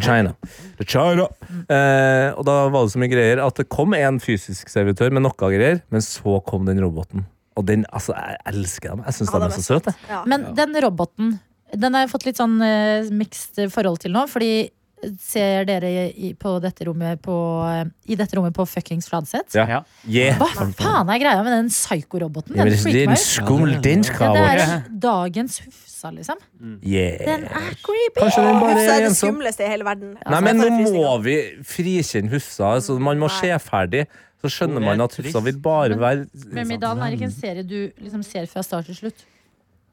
Speaker 2: China.
Speaker 4: <laughs> The China. The China. Eh, og da var det så mye greier at det kom en fysisk servitør med noe greier, men så kom den roboten. Og den, altså, jeg elsker dem. Jeg syns de
Speaker 3: Ja, den
Speaker 4: er
Speaker 3: er
Speaker 4: så søte.
Speaker 3: Ja.
Speaker 2: Men den roboten, den har jeg fått litt sånn uh, mixed forhold til nå, fordi eh, ser dere i, på dette rommet på, eh, i dette rommet på fuckings Fladseth?
Speaker 4: Ja.
Speaker 6: Ja.
Speaker 4: Yeah.
Speaker 2: Hva faen er greia med den psykoroboten?
Speaker 4: Ja, men det er
Speaker 2: Den freaker
Speaker 4: en
Speaker 2: meg ut.
Speaker 4: skummel dansk
Speaker 2: Ja, det er
Speaker 4: robot.
Speaker 2: en dagens Hufsa, liksom. Den
Speaker 4: Yeah.
Speaker 2: er creepy!
Speaker 4: Kanskje den bare
Speaker 3: Huff er
Speaker 4: er
Speaker 3: det
Speaker 4: ensom.
Speaker 3: skumleste i hele verden.
Speaker 4: Nei, men
Speaker 3: Jeg får
Speaker 4: nå må
Speaker 3: frysninger.
Speaker 4: vi frikjenne Hussa. Altså, man må se ferdig. Så skjønner
Speaker 6: Hun er
Speaker 4: man at
Speaker 6: trist.
Speaker 4: Hussa vil bare være
Speaker 2: Myrmidalen er ikke en serie du liksom ser fra start til slutt.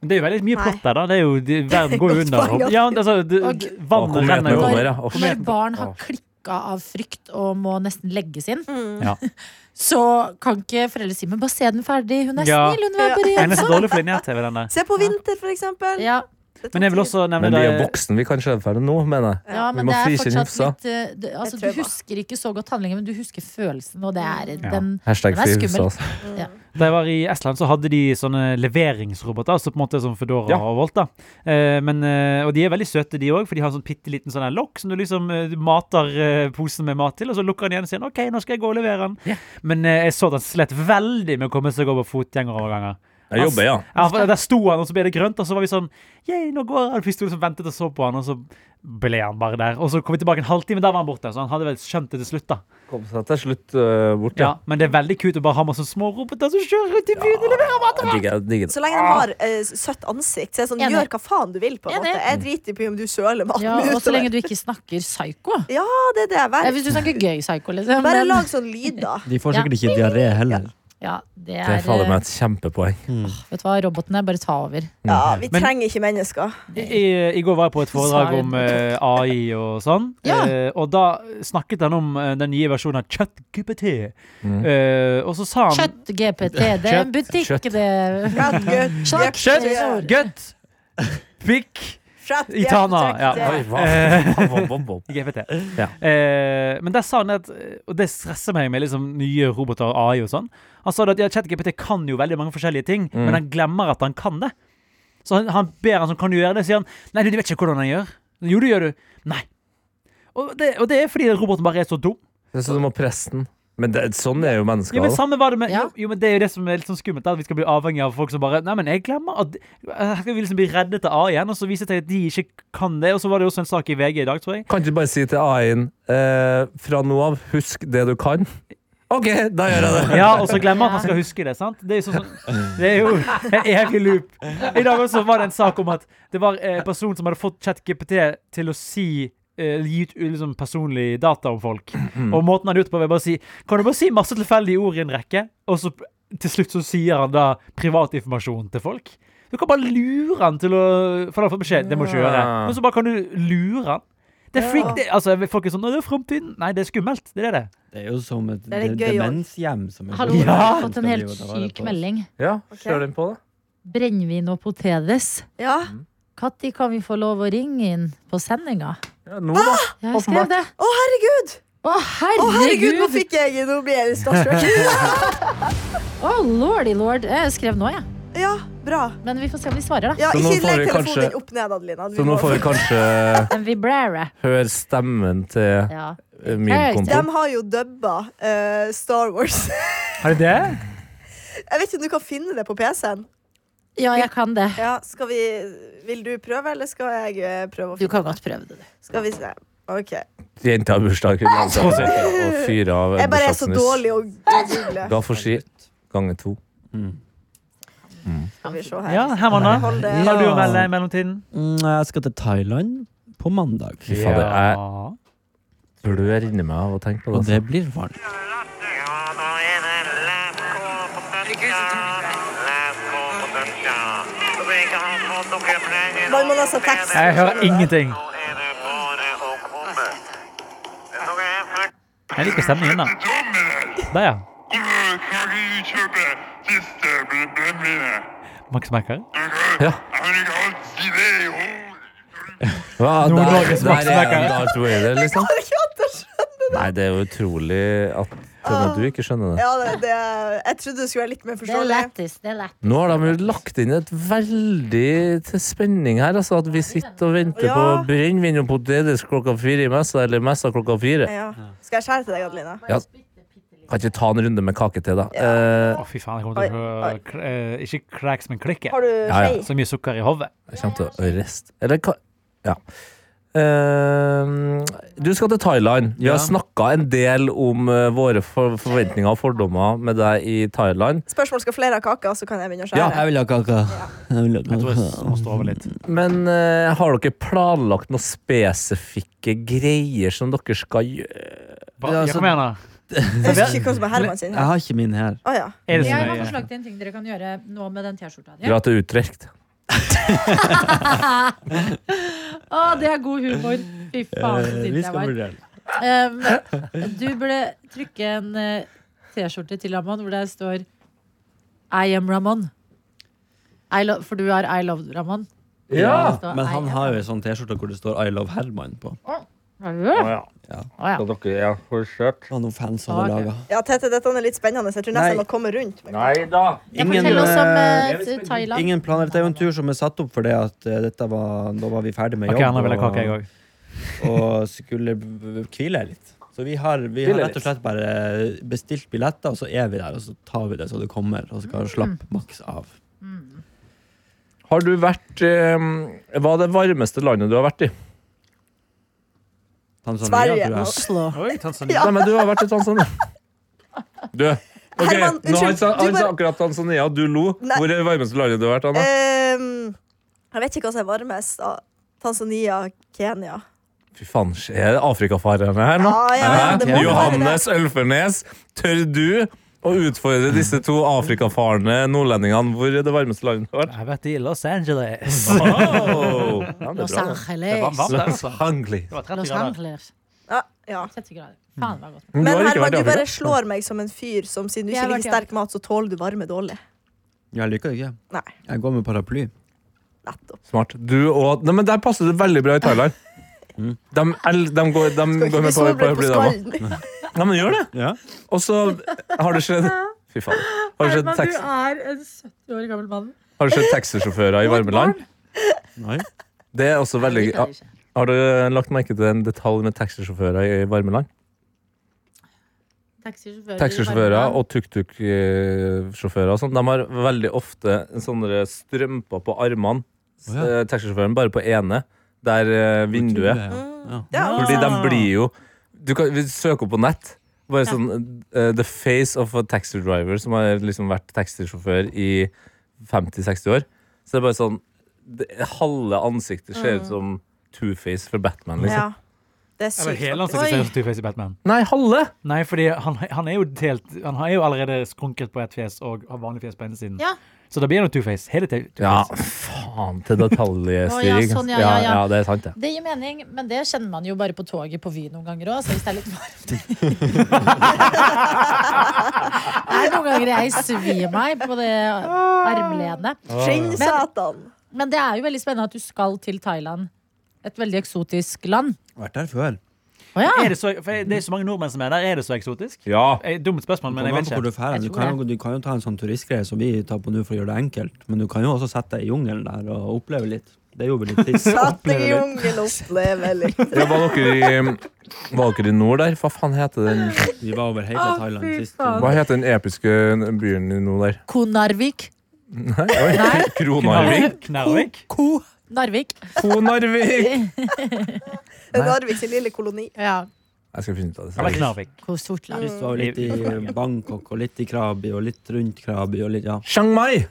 Speaker 6: Det er jo veldig mye
Speaker 3: Nei.
Speaker 6: plott der, da. Det er
Speaker 2: <laughs>
Speaker 6: jo, de, verden går jo
Speaker 3: Godt
Speaker 6: under.
Speaker 3: poeng,
Speaker 6: og- Ja, altså, det,
Speaker 2: Og-
Speaker 6: det-
Speaker 4: Å,
Speaker 6: vannet
Speaker 4: kometen
Speaker 6: renner
Speaker 4: er
Speaker 6: jo.
Speaker 4: over.
Speaker 6: over.
Speaker 4: ja. Å,
Speaker 2: Når
Speaker 4: shit.
Speaker 2: barn har
Speaker 4: Å.
Speaker 2: klikka av frykt og må nesten legges inn,
Speaker 3: Mm.
Speaker 6: Ja.
Speaker 2: <laughs> så kan ikke foreldre si Men bare se den ferdig. Hun er
Speaker 6: Ja.
Speaker 2: snill, hun var
Speaker 3: Ja.
Speaker 2: bare
Speaker 6: Jeg er nesten
Speaker 2: ensom.
Speaker 6: dårlig for linjær-TV, den der.
Speaker 3: Se på Vinter, for eksempel.
Speaker 2: Ja,
Speaker 3: Det tok
Speaker 6: Men jeg vil
Speaker 3: tid.
Speaker 6: også nevne
Speaker 4: Men vi er
Speaker 6: det-
Speaker 4: voksne, vi kan skjønne ferdig nå, mener jeg.
Speaker 2: ja,
Speaker 4: Vi
Speaker 2: men
Speaker 4: må
Speaker 2: det er
Speaker 4: frikjenne
Speaker 2: fortsatt
Speaker 4: Hufsa.
Speaker 2: litt eh, det, altså,
Speaker 3: Et
Speaker 2: Du
Speaker 3: trauma.
Speaker 2: husker ikke så godt handlingen, men du husker følelsen, og det er
Speaker 6: Ja.
Speaker 2: den
Speaker 4: Mm. Hashtag
Speaker 2: Den er
Speaker 4: fri Hufsa.
Speaker 2: skummel.
Speaker 4: altså.
Speaker 3: Mm.
Speaker 6: Da jeg var i Estland, så hadde de sånne leveringsroboter, altså på en måte som Foodora
Speaker 4: Ja.
Speaker 6: og Volt. da. Eh, men, eh, og de er veldig søte, de òg, for de har sånn bitte liten sånn her lokk som du liksom eh, du mater eh, posen med mat til, og så lukker han igjen og sier OK, nå skal jeg gå og levere den. Men eh, jeg så at han slet veldig med å komme seg over fotgjengeroverganger.
Speaker 4: Jeg jobber, ja.
Speaker 6: Ja, for Der sto han, og så ble det grønt, og så var vi sånn Yay, nå går han. Først sto vi liksom ventet og så på han, og så ble han bare der. Og så kom vi tilbake en halvtime, der var han borte. Så han hadde vel skjønt det til slutt, da.
Speaker 4: Kom seg til slutt øh, bort,
Speaker 6: Ja, Men det er veldig kult å bare ha masse små roboter som kjører rundt i byen og leverer mat.
Speaker 4: Jeg digger, jeg digger det.
Speaker 3: Så lenge de har eh, søtt ansikt, så er det sånn,
Speaker 2: Enig.
Speaker 3: gjør hva faen du vil. på en
Speaker 2: Enig.
Speaker 3: måte Jeg driter i om du søler maten
Speaker 2: ja, Og så
Speaker 3: utover.
Speaker 2: lenge du ikke snakker psyko.
Speaker 3: Ja, det er det jeg
Speaker 2: Jeg
Speaker 3: vet.
Speaker 2: synes du snakker gøy psyko, liksom.
Speaker 3: Bare
Speaker 2: men-
Speaker 3: lag sånn lyd, da.
Speaker 5: De får sikkert ikke diaré heller.
Speaker 2: Ja, det
Speaker 4: Det
Speaker 2: er, eh,
Speaker 4: er fader meg et kjempepoeng.
Speaker 2: Vet du hva, robotene bare ta over.
Speaker 4: Mm.
Speaker 3: Ja, Vi
Speaker 6: Men-
Speaker 3: trenger ikke mennesker.
Speaker 6: I, i- I går var jeg på et foredrag om eh, AI og sånn.
Speaker 2: Ja.
Speaker 6: Eh, og da snakket han om eh, den nye versjonen av ChatGPT. Eh, og så sa han
Speaker 2: Kjøtt-GPT, det er en butikk,
Speaker 4: Kjøtt.
Speaker 2: det.
Speaker 3: Kjøtt, gutt,
Speaker 2: Kjøtt,
Speaker 6: Kjøtt,
Speaker 3: gutt,
Speaker 6: <laughs> gutt, pikk,
Speaker 3: kjøtt, gutt,
Speaker 6: Itana. Ja.
Speaker 3: kjøtt,
Speaker 6: Oi,
Speaker 3: gutt.
Speaker 6: GPT.
Speaker 4: Ja.
Speaker 6: Eh, men der sa han at eh, Og det stresser meg med liksom, nye roboter og AI og sånn. Han sa det at ja, ChatGPT kan jo veldig mange forskjellige ting, men han glemmer at han kan det. Så han, han ber han som kan du gjøre det, sier han Nei, du, du vet ikke hvordan han gjør. Jo, det gjør du. Nei. Og det, og det er fordi roboten bare er så dum.
Speaker 4: Det er sånn som å presse den. Men det, sånn er jo
Speaker 6: Ja,
Speaker 4: mennesker.
Speaker 6: men
Speaker 4: da.
Speaker 6: samme var det med
Speaker 2: Ja.
Speaker 6: jo, jo, men Det er jo det som er litt sånn skummelt, da, at vi skal bli avhengig av folk som bare Nei, men jeg glemmer at Her skal vi liksom bli reddet av AI igjen, og så viser det seg at de ikke kan det. Og så var det jo også en sak i VG i dag, tror jeg.
Speaker 4: Kan ikke du bare si til AI-en eh, fra nå av, husk det du kan? OK, da gjør jeg det.
Speaker 6: <laughs> Ja, og så glemmer han at han skal huske det, sant? Det er jo, sånn, sånn, det er jo en evig loop. I dag også var det en sak om at det var eh, en person som hadde fått ChatGPT til å si eh, Gi ut liksom, personlig data om folk. Og måten han gjorde det på, var bare å si Kan du bare si masse tilfeldige ord i en rekke? Og så til slutt så sier han da privatinformasjon til folk. Du kan bare lure han til å For han har fått beskjed, det må du ikke gjøre.
Speaker 4: Ja.
Speaker 6: Men så bare kan du lure han. Det er freak, det, altså, folk er sånn Å, det er fremtiden. Nei, det er skummelt. Det er det.
Speaker 5: Det er jo som et
Speaker 3: Det er litt
Speaker 5: de-
Speaker 3: gøy også.
Speaker 5: demenshjem. som er-
Speaker 2: Hallo, jeg har fått
Speaker 5: Skal
Speaker 2: en
Speaker 5: vi
Speaker 2: helt
Speaker 5: jo ta vare
Speaker 2: syk
Speaker 5: på.
Speaker 2: melding.
Speaker 4: Ja, kjør den på, da.
Speaker 2: Brennevin og potetes.
Speaker 3: Ja.
Speaker 2: Når kan vi få lov å ringe inn på sendinga?
Speaker 4: Ja, nå, da.
Speaker 2: Ja, jeg skrev det.
Speaker 3: Å, herregud!
Speaker 2: Å,
Speaker 3: Å, herregud, nå
Speaker 2: herregud!
Speaker 3: fikk jeg Nå blir jeg litt
Speaker 4: <laughs>
Speaker 3: starstruck.
Speaker 2: Å, lordy lord. Jeg skrev nå, jeg.
Speaker 3: Ja, bra.
Speaker 2: Men vi får se om de svarer, da.
Speaker 3: Ja,
Speaker 4: Så nå
Speaker 3: ikke
Speaker 4: får
Speaker 3: legg
Speaker 4: vi
Speaker 3: telefonen
Speaker 4: kanskje-
Speaker 3: din opp ned, Adelina. Du
Speaker 4: Så nå
Speaker 3: må-
Speaker 4: får vi kanskje
Speaker 2: En vibrare.
Speaker 4: høre stemmen til
Speaker 2: Ja.
Speaker 4: eh, min
Speaker 3: De
Speaker 4: konto.
Speaker 3: har jo dubba eh, Star Wars. <laughs>
Speaker 6: Har du det?
Speaker 3: Jeg vet ikke om du kan finne det på PC-en.
Speaker 2: ja, jeg kan det.
Speaker 3: Ja, skal vi Vil du prøve, eller skal jeg eh, prøve å
Speaker 2: Du
Speaker 3: finne
Speaker 2: kan godt prøve det, du.
Speaker 3: Skal vi se. OK. Jeg
Speaker 4: Jenta har bursdag. hun lanser Og fyrer av
Speaker 3: bare er så
Speaker 4: bursdagsnuss.
Speaker 3: dårlig å google.
Speaker 4: Ga for ski. Ganger to.
Speaker 3: Skal vi se her.
Speaker 6: Ja, Herman, da?
Speaker 3: Hold det.
Speaker 5: Ja.
Speaker 6: Har du å melde i mellomtiden?
Speaker 5: Mm, Jeg skal til Thailand på mandag.
Speaker 4: Fy fader, jeg blør inni meg av å tenke på
Speaker 5: Og
Speaker 4: det.
Speaker 5: det blir varmt.
Speaker 8: Herregud, så dårlig.
Speaker 3: kan man altså tekst.
Speaker 6: Jeg hører ingenting. Jeg liker stemningen, da. Der, ja. Max Macker?
Speaker 4: Hva, der,
Speaker 6: Nord-Norges
Speaker 4: der er
Speaker 6: maksmaker.
Speaker 4: en Darth Vader, liksom.
Speaker 3: Jeg klarer ikke annet å skjønne.
Speaker 4: Nei, det er jo utrolig at Tønne, du ikke skjønner det.
Speaker 3: Ja, det, det, jeg trodde det skulle være litt mer
Speaker 2: Det er
Speaker 3: forståelig.
Speaker 2: lættis. Det er lættis.
Speaker 4: Nå har de jo lagt inn et veldig til spenning her. Altså at vi sitter og venter
Speaker 3: Ja.
Speaker 4: på brennevin og potetis klokka fire i messa, eller messa klokka fire.
Speaker 3: Ja. Skal jeg skjære til deg, Adeline?
Speaker 4: Kan ikke vi ta en runde med kake til, da? Eh,
Speaker 6: Å, fy faen, jeg kommer
Speaker 3: Oi, oi.
Speaker 6: til å høre k- eh, Ikke cracks, men klikke.
Speaker 3: Har du
Speaker 4: Ja, ja.
Speaker 3: skje?
Speaker 6: Så mye sukker i hodet.
Speaker 4: Eh, jeg kommer til å riste. Eller hva Ja. Eh, du skal til Thailand. Vi har
Speaker 5: Ja.
Speaker 4: snakka en del om eh, våre for forventninger og fordommer med deg i Thailand.
Speaker 3: Spørsmål skal flere ha kaka, så kan jeg begynne å skjære.
Speaker 4: Ja,
Speaker 5: Jeg vil ha kaka. Jeg vil ha
Speaker 6: Jeg tror
Speaker 5: kaka.
Speaker 6: jeg må stå over litt.
Speaker 4: Men eh, har dere planlagt noen spesifikke greier som dere skal gjøre?
Speaker 6: Hva,
Speaker 5: Ja,
Speaker 6: ja,
Speaker 5: altså-
Speaker 6: kom igjen, da.
Speaker 3: Jeg husker ikke hva som er Herman sin.
Speaker 5: Jeg har ikke min her.
Speaker 3: Å ja.
Speaker 6: Er
Speaker 2: Jeg
Speaker 6: det så
Speaker 2: har
Speaker 6: nøye?
Speaker 2: forslag til en ting dere kan gjøre nå med den T-skjorta. di.
Speaker 4: Dra til Utrecht.
Speaker 2: Å, det er god humor! Fy faen, så sint jeg var.
Speaker 5: Eh, vurdere det.
Speaker 2: Um, du burde trykke en eh, T-skjorte til Ramon hvor det står I am Ramon. I lo for du har I love Ramon.
Speaker 4: Ja!
Speaker 2: Det står
Speaker 5: Men
Speaker 2: I
Speaker 5: han
Speaker 2: am-
Speaker 5: har jo ei sånn T-skjorte hvor det står I love Herman på.
Speaker 2: Har du det?
Speaker 5: Ja.
Speaker 2: Å, ja.
Speaker 4: dere er for skjørt.
Speaker 5: Hva noen fans
Speaker 2: Ah,
Speaker 5: hadde
Speaker 2: ok.
Speaker 5: laga.
Speaker 3: ja, Tete, dette er litt spennende. så Jeg tror nesten jeg må komme rundt. Men
Speaker 4: Nei da.
Speaker 2: Jeg forteller oss om eh, Thailand.
Speaker 5: Ingen planer. Dette er jo en tur som er satt opp fordi at eh, dette var, da var vi ferdig med
Speaker 6: Ok,
Speaker 5: jobb.
Speaker 6: Anna vil ha kake, jeg òg.
Speaker 5: og, <laughs> og skulle b- b- hvile litt. Så vi har, vi har
Speaker 4: Hvile
Speaker 5: rett og slett bare bestilt billetter, og så er vi der, og så tar vi det så det kommer, og så kan
Speaker 2: Mm.
Speaker 5: vi slappe maks av.
Speaker 4: Har du vært eh, Hva er det varmeste landet du har vært i?
Speaker 5: Tanzania,
Speaker 3: Sverige.
Speaker 5: tror jeg.
Speaker 3: Oslo.
Speaker 6: Oi, Tanzania.
Speaker 3: Ja.
Speaker 4: Nei, men du har vært i Tanzania. <laughs> Du. Ok,
Speaker 3: Herman,
Speaker 4: nå har
Speaker 3: unnskyld,
Speaker 4: han sa
Speaker 3: du
Speaker 4: han sa
Speaker 3: bare-
Speaker 4: akkurat Tanzania, og du lo.
Speaker 3: Nei.
Speaker 4: Hvor er det varmeste landet du har vært, Anna?
Speaker 3: Ehm, jeg vet ikke hva som er varmest. da. Tanzania, Kenya.
Speaker 4: Fy faen, er det Afrikafarerne her nå?
Speaker 3: Ah, Ja, ja, ja, det må
Speaker 4: Hæ?
Speaker 3: være
Speaker 4: Johannes Ølfernes, tør du å utfordre disse to afrikafarene nordlendingene? Hvor er det varmeste landet du har vært?
Speaker 6: Jeg har vært i Los <laughs> Angeles.
Speaker 4: Oh, ja, det er bra, da.
Speaker 2: Los
Speaker 6: Det var
Speaker 2: Angeles.
Speaker 6: varmt der,
Speaker 4: Los
Speaker 6: altså.
Speaker 4: Angeles.
Speaker 6: Det var
Speaker 2: Los
Speaker 6: 30 grader.
Speaker 2: Angeles.
Speaker 3: Ja, ja.
Speaker 2: 70 grader. Faen, det var godt.
Speaker 4: Men du
Speaker 3: Men
Speaker 4: har ikke
Speaker 3: Herman,
Speaker 4: vært i
Speaker 3: du
Speaker 4: Afrika?
Speaker 3: bare slår meg som en fyr som siden du
Speaker 2: Jeg
Speaker 3: ikke liker
Speaker 2: har vært i
Speaker 3: sterk mat, så tåler du varme dårlig.
Speaker 5: Jeg liker det ikke.
Speaker 3: Nei,
Speaker 5: Jeg går med paraply.
Speaker 3: nettopp.
Speaker 4: Smart. Du og Nei, men der passer du veldig bra i Thailand.
Speaker 6: Mm.
Speaker 4: De, el- de går, de
Speaker 3: Skal <laughs>
Speaker 4: går
Speaker 3: ikke bli
Speaker 4: med på,
Speaker 3: solbrent på
Speaker 4: paraply, de òg.
Speaker 3: skallen.
Speaker 4: Nei, men gjør det!
Speaker 5: Ja.
Speaker 4: Og så har det skjedd Fy faen. Har det skjedd,
Speaker 2: Herman, du
Speaker 4: tax-
Speaker 2: er en 70 år gammel mann.
Speaker 4: har det skjedd taxisjåfører i varme land?
Speaker 5: Nei.
Speaker 4: Det er også veldig
Speaker 2: Det
Speaker 4: ja,
Speaker 2: kan jeg ikke.
Speaker 4: Har du lagt merke til en detalj med taxisjåfører i varme land?
Speaker 2: Taxisjåfører i
Speaker 4: Taxisjåfører
Speaker 2: varmeland.
Speaker 4: og tuk-tuk-sjåfører og sånn, de har veldig ofte sånne strømper på armene.
Speaker 5: Å, ja.
Speaker 4: Eh, Taxisjåføren bare på ene, der eh, vinduet.
Speaker 5: Ja.
Speaker 3: Ja,
Speaker 4: Fordi de blir jo Du kan vi søker opp på nett. Bare sånn eh, The face of a taxi driver, som har liksom vært taxisjåfør i 50-60 år. Så det er bare sånn det, Halve ansiktet
Speaker 2: Mm.
Speaker 4: ser ut som Two-Face fra Batman, liksom.
Speaker 3: ja. Det er
Speaker 6: Eller
Speaker 3: sykt.
Speaker 6: hele ansiktet ser ut
Speaker 3: faktisk.
Speaker 6: som Two-Face i Batman.
Speaker 4: Nei, halve!
Speaker 6: Nei, fordi han, han er jo delt Han er jo allerede skrunket på ett fjes og har vanlig fjes på ene siden.
Speaker 2: Ja.
Speaker 6: Så da blir han jo Two-Face. Hele Two-Face.
Speaker 4: Ja, faen til
Speaker 2: Å,
Speaker 4: detaljstyring.
Speaker 2: ja, sånn, ja, ja, ja.
Speaker 4: det er sant, det.
Speaker 2: Det gir mening, men det kjenner man jo bare på toget på Vy noen ganger òg, så hvis det er litt varmt Det er noen ganger jeg svir meg på det armlenet.
Speaker 4: Ah.
Speaker 3: Skinn, satan.
Speaker 2: Men det er jo veldig spennende at du skal til Thailand. Et veldig eksotisk land.
Speaker 5: Vært der før.
Speaker 2: Å ja!
Speaker 6: Er det, så, for det er så mange nordmenn som er der. Er det så eksotisk?
Speaker 4: Ja.
Speaker 6: Eh, Dumt spørsmål, men jeg
Speaker 5: Kommer an på
Speaker 6: vet
Speaker 5: hvor
Speaker 6: ikke.
Speaker 5: du, drar.
Speaker 2: Jeg
Speaker 5: du,
Speaker 2: tror
Speaker 5: kan, jo- du kan jo ta en sånn turistgreie som vi tar på nå for å gjøre det enkelt, men du kan jo også sette deg i jungelen der og oppleve litt. Det gjorde vi litt <laughs> sist.
Speaker 3: Satt deg i jungelen og oppleve
Speaker 4: <laughs>
Speaker 3: litt.
Speaker 4: ja var, dere i, var dere i nord der? Hva faen heter den
Speaker 5: Vi var over hele Thailand sist.
Speaker 4: Hva heter den episke byen i nord der?
Speaker 2: Ko Narvik.
Speaker 4: Nei, oi. <laughs>
Speaker 2: Nei.
Speaker 4: Kronarvik?
Speaker 6: Knarvik?
Speaker 2: Ko Narvik.
Speaker 4: Konarvik!
Speaker 5: <laughs>
Speaker 3: Narvik sin lille koloni.
Speaker 2: Ja.
Speaker 4: Jeg skal finne ut av det.
Speaker 6: Eller
Speaker 4: selv.
Speaker 6: Knarvik.
Speaker 2: Ko Sortland.
Speaker 5: Sist var vi <laughs> litt i Bangkok og litt i Krabi og litt rundt Krabi og litt Ja,
Speaker 4: Chiang Mai!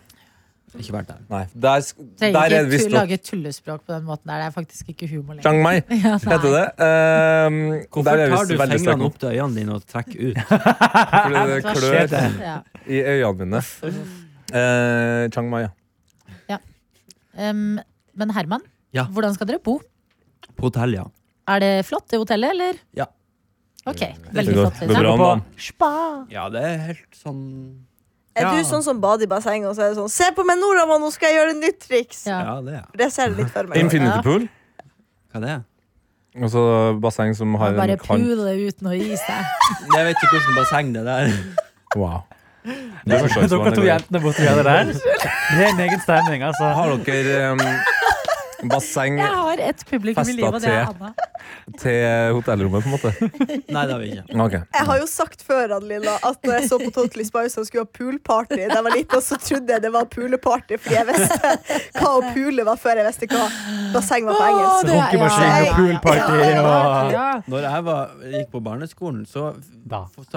Speaker 5: ikke vært der.
Speaker 4: Nei, der, sk- der
Speaker 2: Trenger
Speaker 4: er det
Speaker 2: ikke tu
Speaker 4: visst nok
Speaker 2: lage tullespråk på den måten der. Det er faktisk ikke humor lenger.
Speaker 4: Chiang Mai
Speaker 2: Ja, nei.
Speaker 4: heter det. Ehm, der
Speaker 5: Hvorfor
Speaker 4: er det
Speaker 5: tar
Speaker 4: visst
Speaker 5: du
Speaker 4: veldig sterk
Speaker 5: fingrene
Speaker 4: nok,
Speaker 5: opp til øynene dine og trekker ut?
Speaker 4: Fordi det
Speaker 2: Hva
Speaker 4: klør
Speaker 2: skjer? Ja.
Speaker 4: i øynene mine. Eh, Chiang Mai, ja.
Speaker 2: Um, men Herman,
Speaker 5: Ja.
Speaker 2: Hvordan skal dere bo?
Speaker 5: På hotell, ja.
Speaker 2: Er det flott, det hotellet, eller?
Speaker 5: Ja.
Speaker 2: Ok,
Speaker 4: Det
Speaker 2: veldig
Speaker 4: går,
Speaker 2: flott.
Speaker 4: går bra
Speaker 2: Liksom.
Speaker 4: om dagen.
Speaker 5: Ja, det er helt sånn
Speaker 3: Er
Speaker 5: Ja.
Speaker 3: du sånn som bader i basseng og så er det sånn Se på meg, Norama, nå skal jeg gjøre et nytt triks!
Speaker 2: Ja.
Speaker 5: Ja, det er
Speaker 3: Det ser jeg litt for meg.
Speaker 4: Infinity pool.
Speaker 5: Hva det er
Speaker 4: Altså basseng som har en
Speaker 2: Bare
Speaker 4: kant.
Speaker 2: pule uten å gi seg.
Speaker 5: Jeg vet ikke hvordan basseng det der
Speaker 4: Wow. Det forstår jeg ikke
Speaker 6: Dere
Speaker 4: hvordan
Speaker 6: to
Speaker 4: det går.
Speaker 6: jentene borti her der. Det er en egen stemning, altså.
Speaker 4: Har dere em, basseng
Speaker 2: Jeg har et publikum i
Speaker 4: Festa
Speaker 2: livet, og det er
Speaker 4: te.
Speaker 2: Anna.
Speaker 4: til hotellrommet, på en måte?
Speaker 5: Nei, det har vi ikke.
Speaker 4: Ok.
Speaker 3: Jeg har jo sagt før Adelina, at når jeg så på Totally Spice og skulle ha poolparty da jeg var liten, så trodde jeg det var puleparty fordi jeg visste hva å pule var før jeg visste hva basseng var på
Speaker 2: Å,
Speaker 3: engelsk.
Speaker 2: det er-
Speaker 6: Runkemaskin
Speaker 3: ja, ja,
Speaker 6: og poolparty og
Speaker 2: Ja.
Speaker 5: Når jeg var, gikk på barneskolen, så
Speaker 6: Da.
Speaker 5: Skyt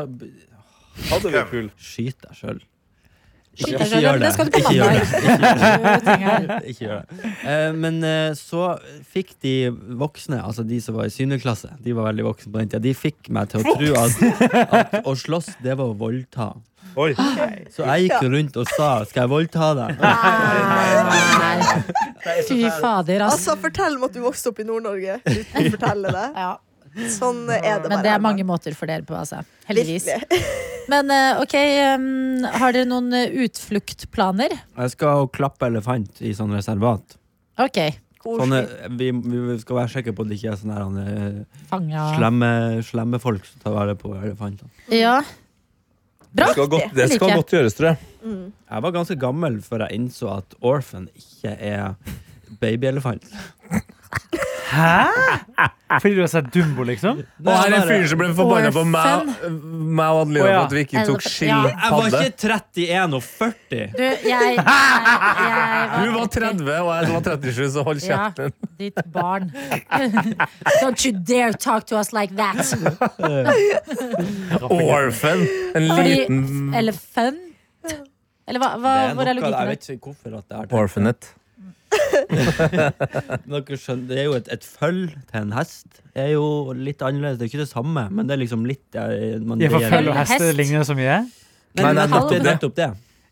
Speaker 4: Hadde vi pool?
Speaker 5: deg sjøl.
Speaker 2: Skyt deg selv, det skal du på
Speaker 5: Ikke gjør det.
Speaker 2: mandag. Ting her.
Speaker 5: Ikke gjør det. Eh, men eh, så fikk de voksne, altså de som var i syvende klasse, de var veldig voksne på den tida, de fikk meg til å tro at, at å slåss, det var å voldta.
Speaker 4: Oi.
Speaker 5: Så jeg gikk jo rundt og sa 'skal jeg voldta deg'?
Speaker 2: Nei. Fy fader, altså.
Speaker 3: Altså, fortell om at du vokste opp i Nord-Norge uten å fortelle det.
Speaker 2: Ja.
Speaker 3: Sånn er det bare.
Speaker 2: Men det er mange måter for dere på, altså. Heldigvis.
Speaker 3: Virkelig.
Speaker 2: Men eh, ok, em, har dere noen eh, utfluktplaner?
Speaker 5: Jeg skal klappe elefant i sånn reservat.
Speaker 2: Ok.
Speaker 5: Sånne, vi, vi skal være sikre på at det ikke er sånne her, eh,
Speaker 2: Fanga.
Speaker 5: slemme, slemme folk som tar vare på elefantene.
Speaker 2: Ja. Bra.
Speaker 4: Det skal godt, det skal godt gjøres, tror jeg.
Speaker 5: Jeg var ganske gammel før jeg innså at orphan ikke er babyelefant.
Speaker 6: Hæ? Fordi du har sett Dumbo, liksom?
Speaker 4: Og her er en fyr som ble forbanna på meg,
Speaker 2: Orphan.
Speaker 4: meg og Adelina
Speaker 6: Å, ja.
Speaker 4: for at vi ikke tok
Speaker 2: Ja. Jeg
Speaker 5: Jeg var
Speaker 4: skilpadde.
Speaker 5: ikke 31 og 40!
Speaker 2: Du, jeg,
Speaker 4: <laughs>
Speaker 2: jeg, jeg
Speaker 4: Hun var 30, og jeg var 37, så hold
Speaker 2: Ja,
Speaker 4: kjeften.
Speaker 2: ditt barn. <laughs> Don't you dare talk to us like that!
Speaker 4: Orphan! En liten
Speaker 2: Fordi Elephant? Eller hva, hva,
Speaker 5: Det
Speaker 2: hvor er
Speaker 5: er noe- jeg
Speaker 2: logikken?
Speaker 5: vet ikke hvorfor at det er det.
Speaker 4: Orphanet.
Speaker 5: Dere skjønner, det er jo et, et føll til en hest. Det er jo litt annerledes. Det er ikke det samme, men det er liksom litt eh, man,
Speaker 6: Jeg får
Speaker 5: det-
Speaker 6: følge og
Speaker 2: Hest.
Speaker 6: hester ligner så mye.
Speaker 5: Nei, nei, nettopp det.
Speaker 2: Kalven.
Speaker 5: Nettopp det.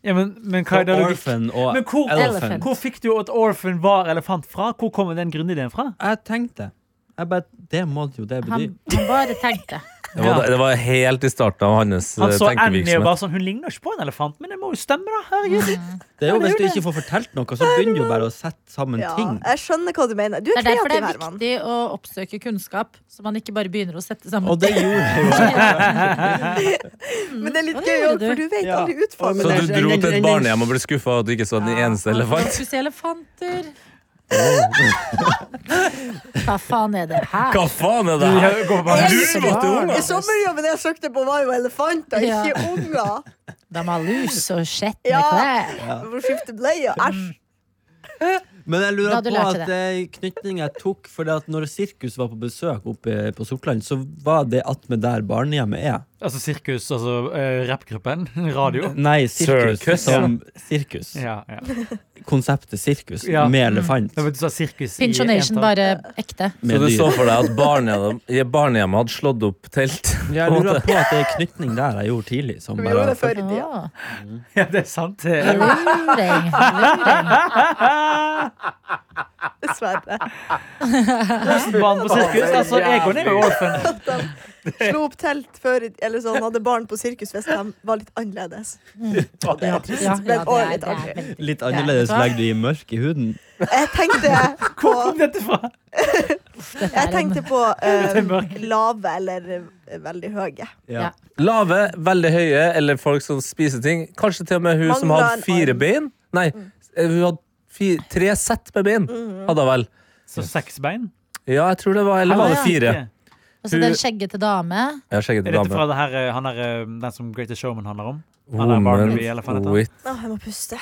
Speaker 6: Ja, men, men hva
Speaker 5: Så
Speaker 6: er det logikk?
Speaker 5: orphan og
Speaker 6: Men hvor-
Speaker 5: elephant.
Speaker 6: Hvor fikk du at orphan var elefant fra? Hvor kom den grunnideen fra?
Speaker 5: Jeg tenkte jeg bare, Det må jo det bety.
Speaker 2: Han, han bare tenkte.
Speaker 4: Det var, det var helt i starten av hans eh,
Speaker 6: Han så Annie og
Speaker 4: tenkevirksomhet.
Speaker 6: bare sånn Hun ligner ikke på en elefant, men det må jo stemme, da. Herregud.
Speaker 5: Det er jo Hvis du ikke får fortalt noe, så begynner du bare å sette sammen
Speaker 3: Ja,
Speaker 5: ting.
Speaker 3: jeg skjønner hva du mener. Du
Speaker 2: Det
Speaker 3: er
Speaker 2: er derfor det
Speaker 3: kreativ,
Speaker 2: er
Speaker 3: Herman.
Speaker 2: viktig å oppsøke kunnskap, så man ikke bare begynner å sette <laughs>
Speaker 5: Og
Speaker 2: sammen
Speaker 5: det gjorde jeg jo.
Speaker 3: Men det er litt
Speaker 2: Ja, det
Speaker 3: gøy
Speaker 2: gjorde
Speaker 3: òg, for du vet
Speaker 5: Ja.
Speaker 3: aldri utfallet.
Speaker 5: Og-
Speaker 4: Så
Speaker 5: Men
Speaker 4: du
Speaker 5: det-
Speaker 4: dro
Speaker 5: den-
Speaker 4: til
Speaker 5: den-
Speaker 4: et barnehjem og ble skuffa og du ikke så den eneste elefant?
Speaker 2: Fokus i elefanter.
Speaker 4: <laughs>
Speaker 2: Hva faen er det her?
Speaker 4: Hva faen er det her?
Speaker 6: Jeg går bare-
Speaker 4: Du måtte jo
Speaker 3: I sommerjobben jeg søkte på, var jo elefanter, ikke unger.
Speaker 2: De har lus og skjetne
Speaker 3: Ja.
Speaker 2: klær.
Speaker 3: Hvor skifter bleia? Æsj.
Speaker 5: Men jeg
Speaker 2: Da
Speaker 5: lurer
Speaker 2: hadde du
Speaker 5: på
Speaker 2: lært
Speaker 5: at eh, knytningen jeg tok Fordi at når sirkus var på besøk oppe på Sortland Så var det at med der barnehjemmet er
Speaker 6: Altså sirkus, altså eh, rappgruppen. <laughs> Radio.
Speaker 5: Nei, sirkus
Speaker 4: Circus,
Speaker 5: som sirkus
Speaker 6: Ja, ja.
Speaker 5: Konseptet sirkus
Speaker 6: Ja.
Speaker 5: med elefant
Speaker 6: Da vet du sa sirkus i sånn-
Speaker 2: Pinsjonation,
Speaker 6: entall.
Speaker 2: bare ekte.
Speaker 4: Så
Speaker 5: med
Speaker 4: du så
Speaker 5: dyr.
Speaker 4: for deg at barnehjemmet, barnehjemmet hadde slått opp telt?
Speaker 5: Jeg lurer på at det er knytning der jeg gjorde tidlig Som
Speaker 3: Vi gjorde
Speaker 5: bare
Speaker 3: det før i tida.
Speaker 2: Åh.
Speaker 6: <laughs> Ja, det er sant. Det er jo-
Speaker 3: <laughs>
Speaker 2: Luring. Luring.
Speaker 3: Dessverre.
Speaker 6: Barn på sirkus. Altså, jeg går ned med orphan.
Speaker 3: Slo opp telt før i- Eller sånn, hadde barn på sirkus hvis de var litt annerledes. Det er trist,
Speaker 2: Ja, ja,
Speaker 3: men også
Speaker 2: det
Speaker 3: litt
Speaker 2: er- det
Speaker 3: artig.
Speaker 2: er veldig-
Speaker 5: Litt annerledes
Speaker 2: Ja, vet
Speaker 5: legger du i mørk i huden
Speaker 3: Jeg tenkte
Speaker 6: Hvor
Speaker 3: på,
Speaker 6: kom dette fra?
Speaker 2: Dette
Speaker 3: jeg
Speaker 2: er en-
Speaker 3: tenkte på eh,
Speaker 6: Det er mørkt.
Speaker 3: lave eller eh, veldig høye.
Speaker 2: Ja.
Speaker 4: Lave, veldig høye eller folk som spiser ting. Kanskje til og med hun som
Speaker 3: Mangler
Speaker 4: hadde
Speaker 3: en
Speaker 4: fire
Speaker 3: arm.
Speaker 4: bein. Nei, eh, hun hadde fi- tre sett med bein. Hadde hun vel.
Speaker 6: Så seks bein?
Speaker 4: Ja, jeg tror det var Eller var det
Speaker 2: Ja.
Speaker 4: fire?
Speaker 2: Altså den skjeggete dame.
Speaker 4: Jeg har sjekket
Speaker 6: Er
Speaker 4: det
Speaker 6: dette fra
Speaker 4: dame.
Speaker 6: det her, eh, han er, eh, den som Greatest Showman handler om? Han er
Speaker 4: Woman
Speaker 6: Barnaby, eller hva heter han?
Speaker 4: with
Speaker 3: Å, jeg må puste.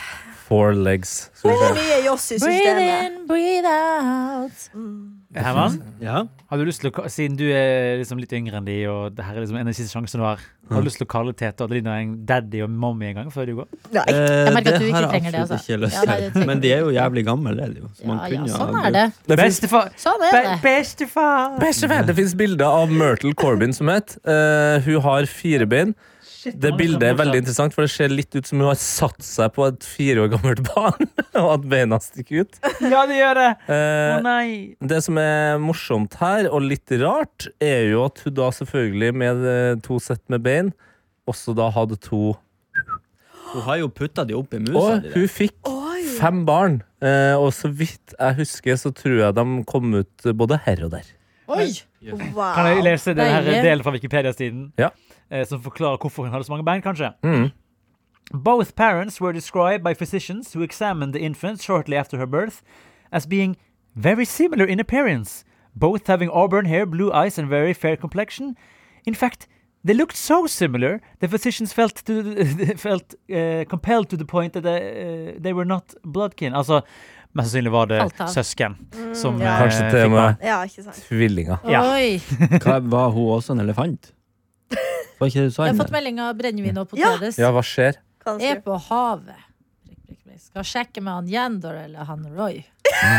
Speaker 4: four legs. Skal vi
Speaker 3: Hvor
Speaker 4: se.
Speaker 3: mye joss i
Speaker 2: Breathe
Speaker 3: systemet? Mm.
Speaker 2: in, breathe out.
Speaker 6: Herman,
Speaker 5: Ja,
Speaker 6: har du lyst til å, ka- siden du er liksom litt yngre enn de, og det her er liksom en av de siste sjansene du har, har du lyst til å kalle Tete og Adelina en daddy og mommy en gang før du går?
Speaker 3: Nei.
Speaker 5: Eh,
Speaker 2: merker at du ikke
Speaker 5: har jeg
Speaker 2: trenger det,
Speaker 5: absolutt
Speaker 2: altså.
Speaker 5: ikke lyst
Speaker 2: Ja, nei, det
Speaker 5: til.
Speaker 2: trenger
Speaker 5: Men de er jo jævlig gamle det er de jo. Så
Speaker 2: Ja,
Speaker 5: man
Speaker 2: ja,
Speaker 5: kunne jo ha
Speaker 2: sånn er
Speaker 5: brukt-
Speaker 2: det.
Speaker 4: Det finnes-
Speaker 6: Bestefar!
Speaker 2: Sånn er
Speaker 6: Be
Speaker 2: det.
Speaker 6: bestefar!
Speaker 4: Bæsjefæl! Det fins bilder av Myrtle Corbyn som het. Eh, hun har fire bein.
Speaker 6: shit.
Speaker 4: Det
Speaker 6: man er
Speaker 4: bildet
Speaker 6: så
Speaker 4: er veldig
Speaker 6: morsom.
Speaker 4: interessant, for det ser litt ut som hun har satt seg på et fire år gammelt <laughs> barn, og at beina stikker ut.
Speaker 6: Ja, det gjør det! Å
Speaker 4: Eh,
Speaker 6: nei.
Speaker 4: det som er morsomt her, og litt rart, er jo at hun da selvfølgelig med eh, to sett med bein, også da hadde to
Speaker 5: Hun har jo putta de opp i musa.
Speaker 4: Og
Speaker 5: de der.
Speaker 4: hun fikk fem barn. Eh, og så vidt jeg husker, så tror jeg de kom ut både her og der.
Speaker 2: Oi!
Speaker 3: Wow.
Speaker 6: Kan jeg lese den her
Speaker 2: Deilig.
Speaker 6: delen fra Wikipedia-siden?
Speaker 4: Ja.
Speaker 6: Eh, Som forklarer hvorfor hun hadde så mange bein, kanskje?
Speaker 4: Mhm.
Speaker 6: Both parents were described by physicians who examined the infant shortly after her birth as being very similar in appearance, both having auburn hair, blue eyes, and very fair complexion. In fact, they looked so similar, the physicians felt, <laughs> to, felt eh, compelled to the point that they, eh, they were not blood kin. Altså, mest sannsynlig var det
Speaker 2: Alt av.
Speaker 6: søsken som
Speaker 3: ja.
Speaker 6: eh,
Speaker 4: Kanskje til
Speaker 6: fikk
Speaker 4: og
Speaker 6: barn.
Speaker 4: med
Speaker 3: Ja, ikke sant.
Speaker 4: tvillinger.
Speaker 6: Ja.
Speaker 2: Oi.
Speaker 5: Hva, var hun også en elefant? Var ikke det du sa?
Speaker 2: Jeg har
Speaker 5: Ine?
Speaker 2: fått melding av brennevin og
Speaker 3: Ja.
Speaker 2: potetes.
Speaker 4: Ja, hva skjer?
Speaker 3: Hva han
Speaker 2: Er
Speaker 3: skriver.
Speaker 2: på havet. Prikk, prikk, prikk. Skal sjekke med han Jendor eller han
Speaker 6: <laughs>
Speaker 2: Roy.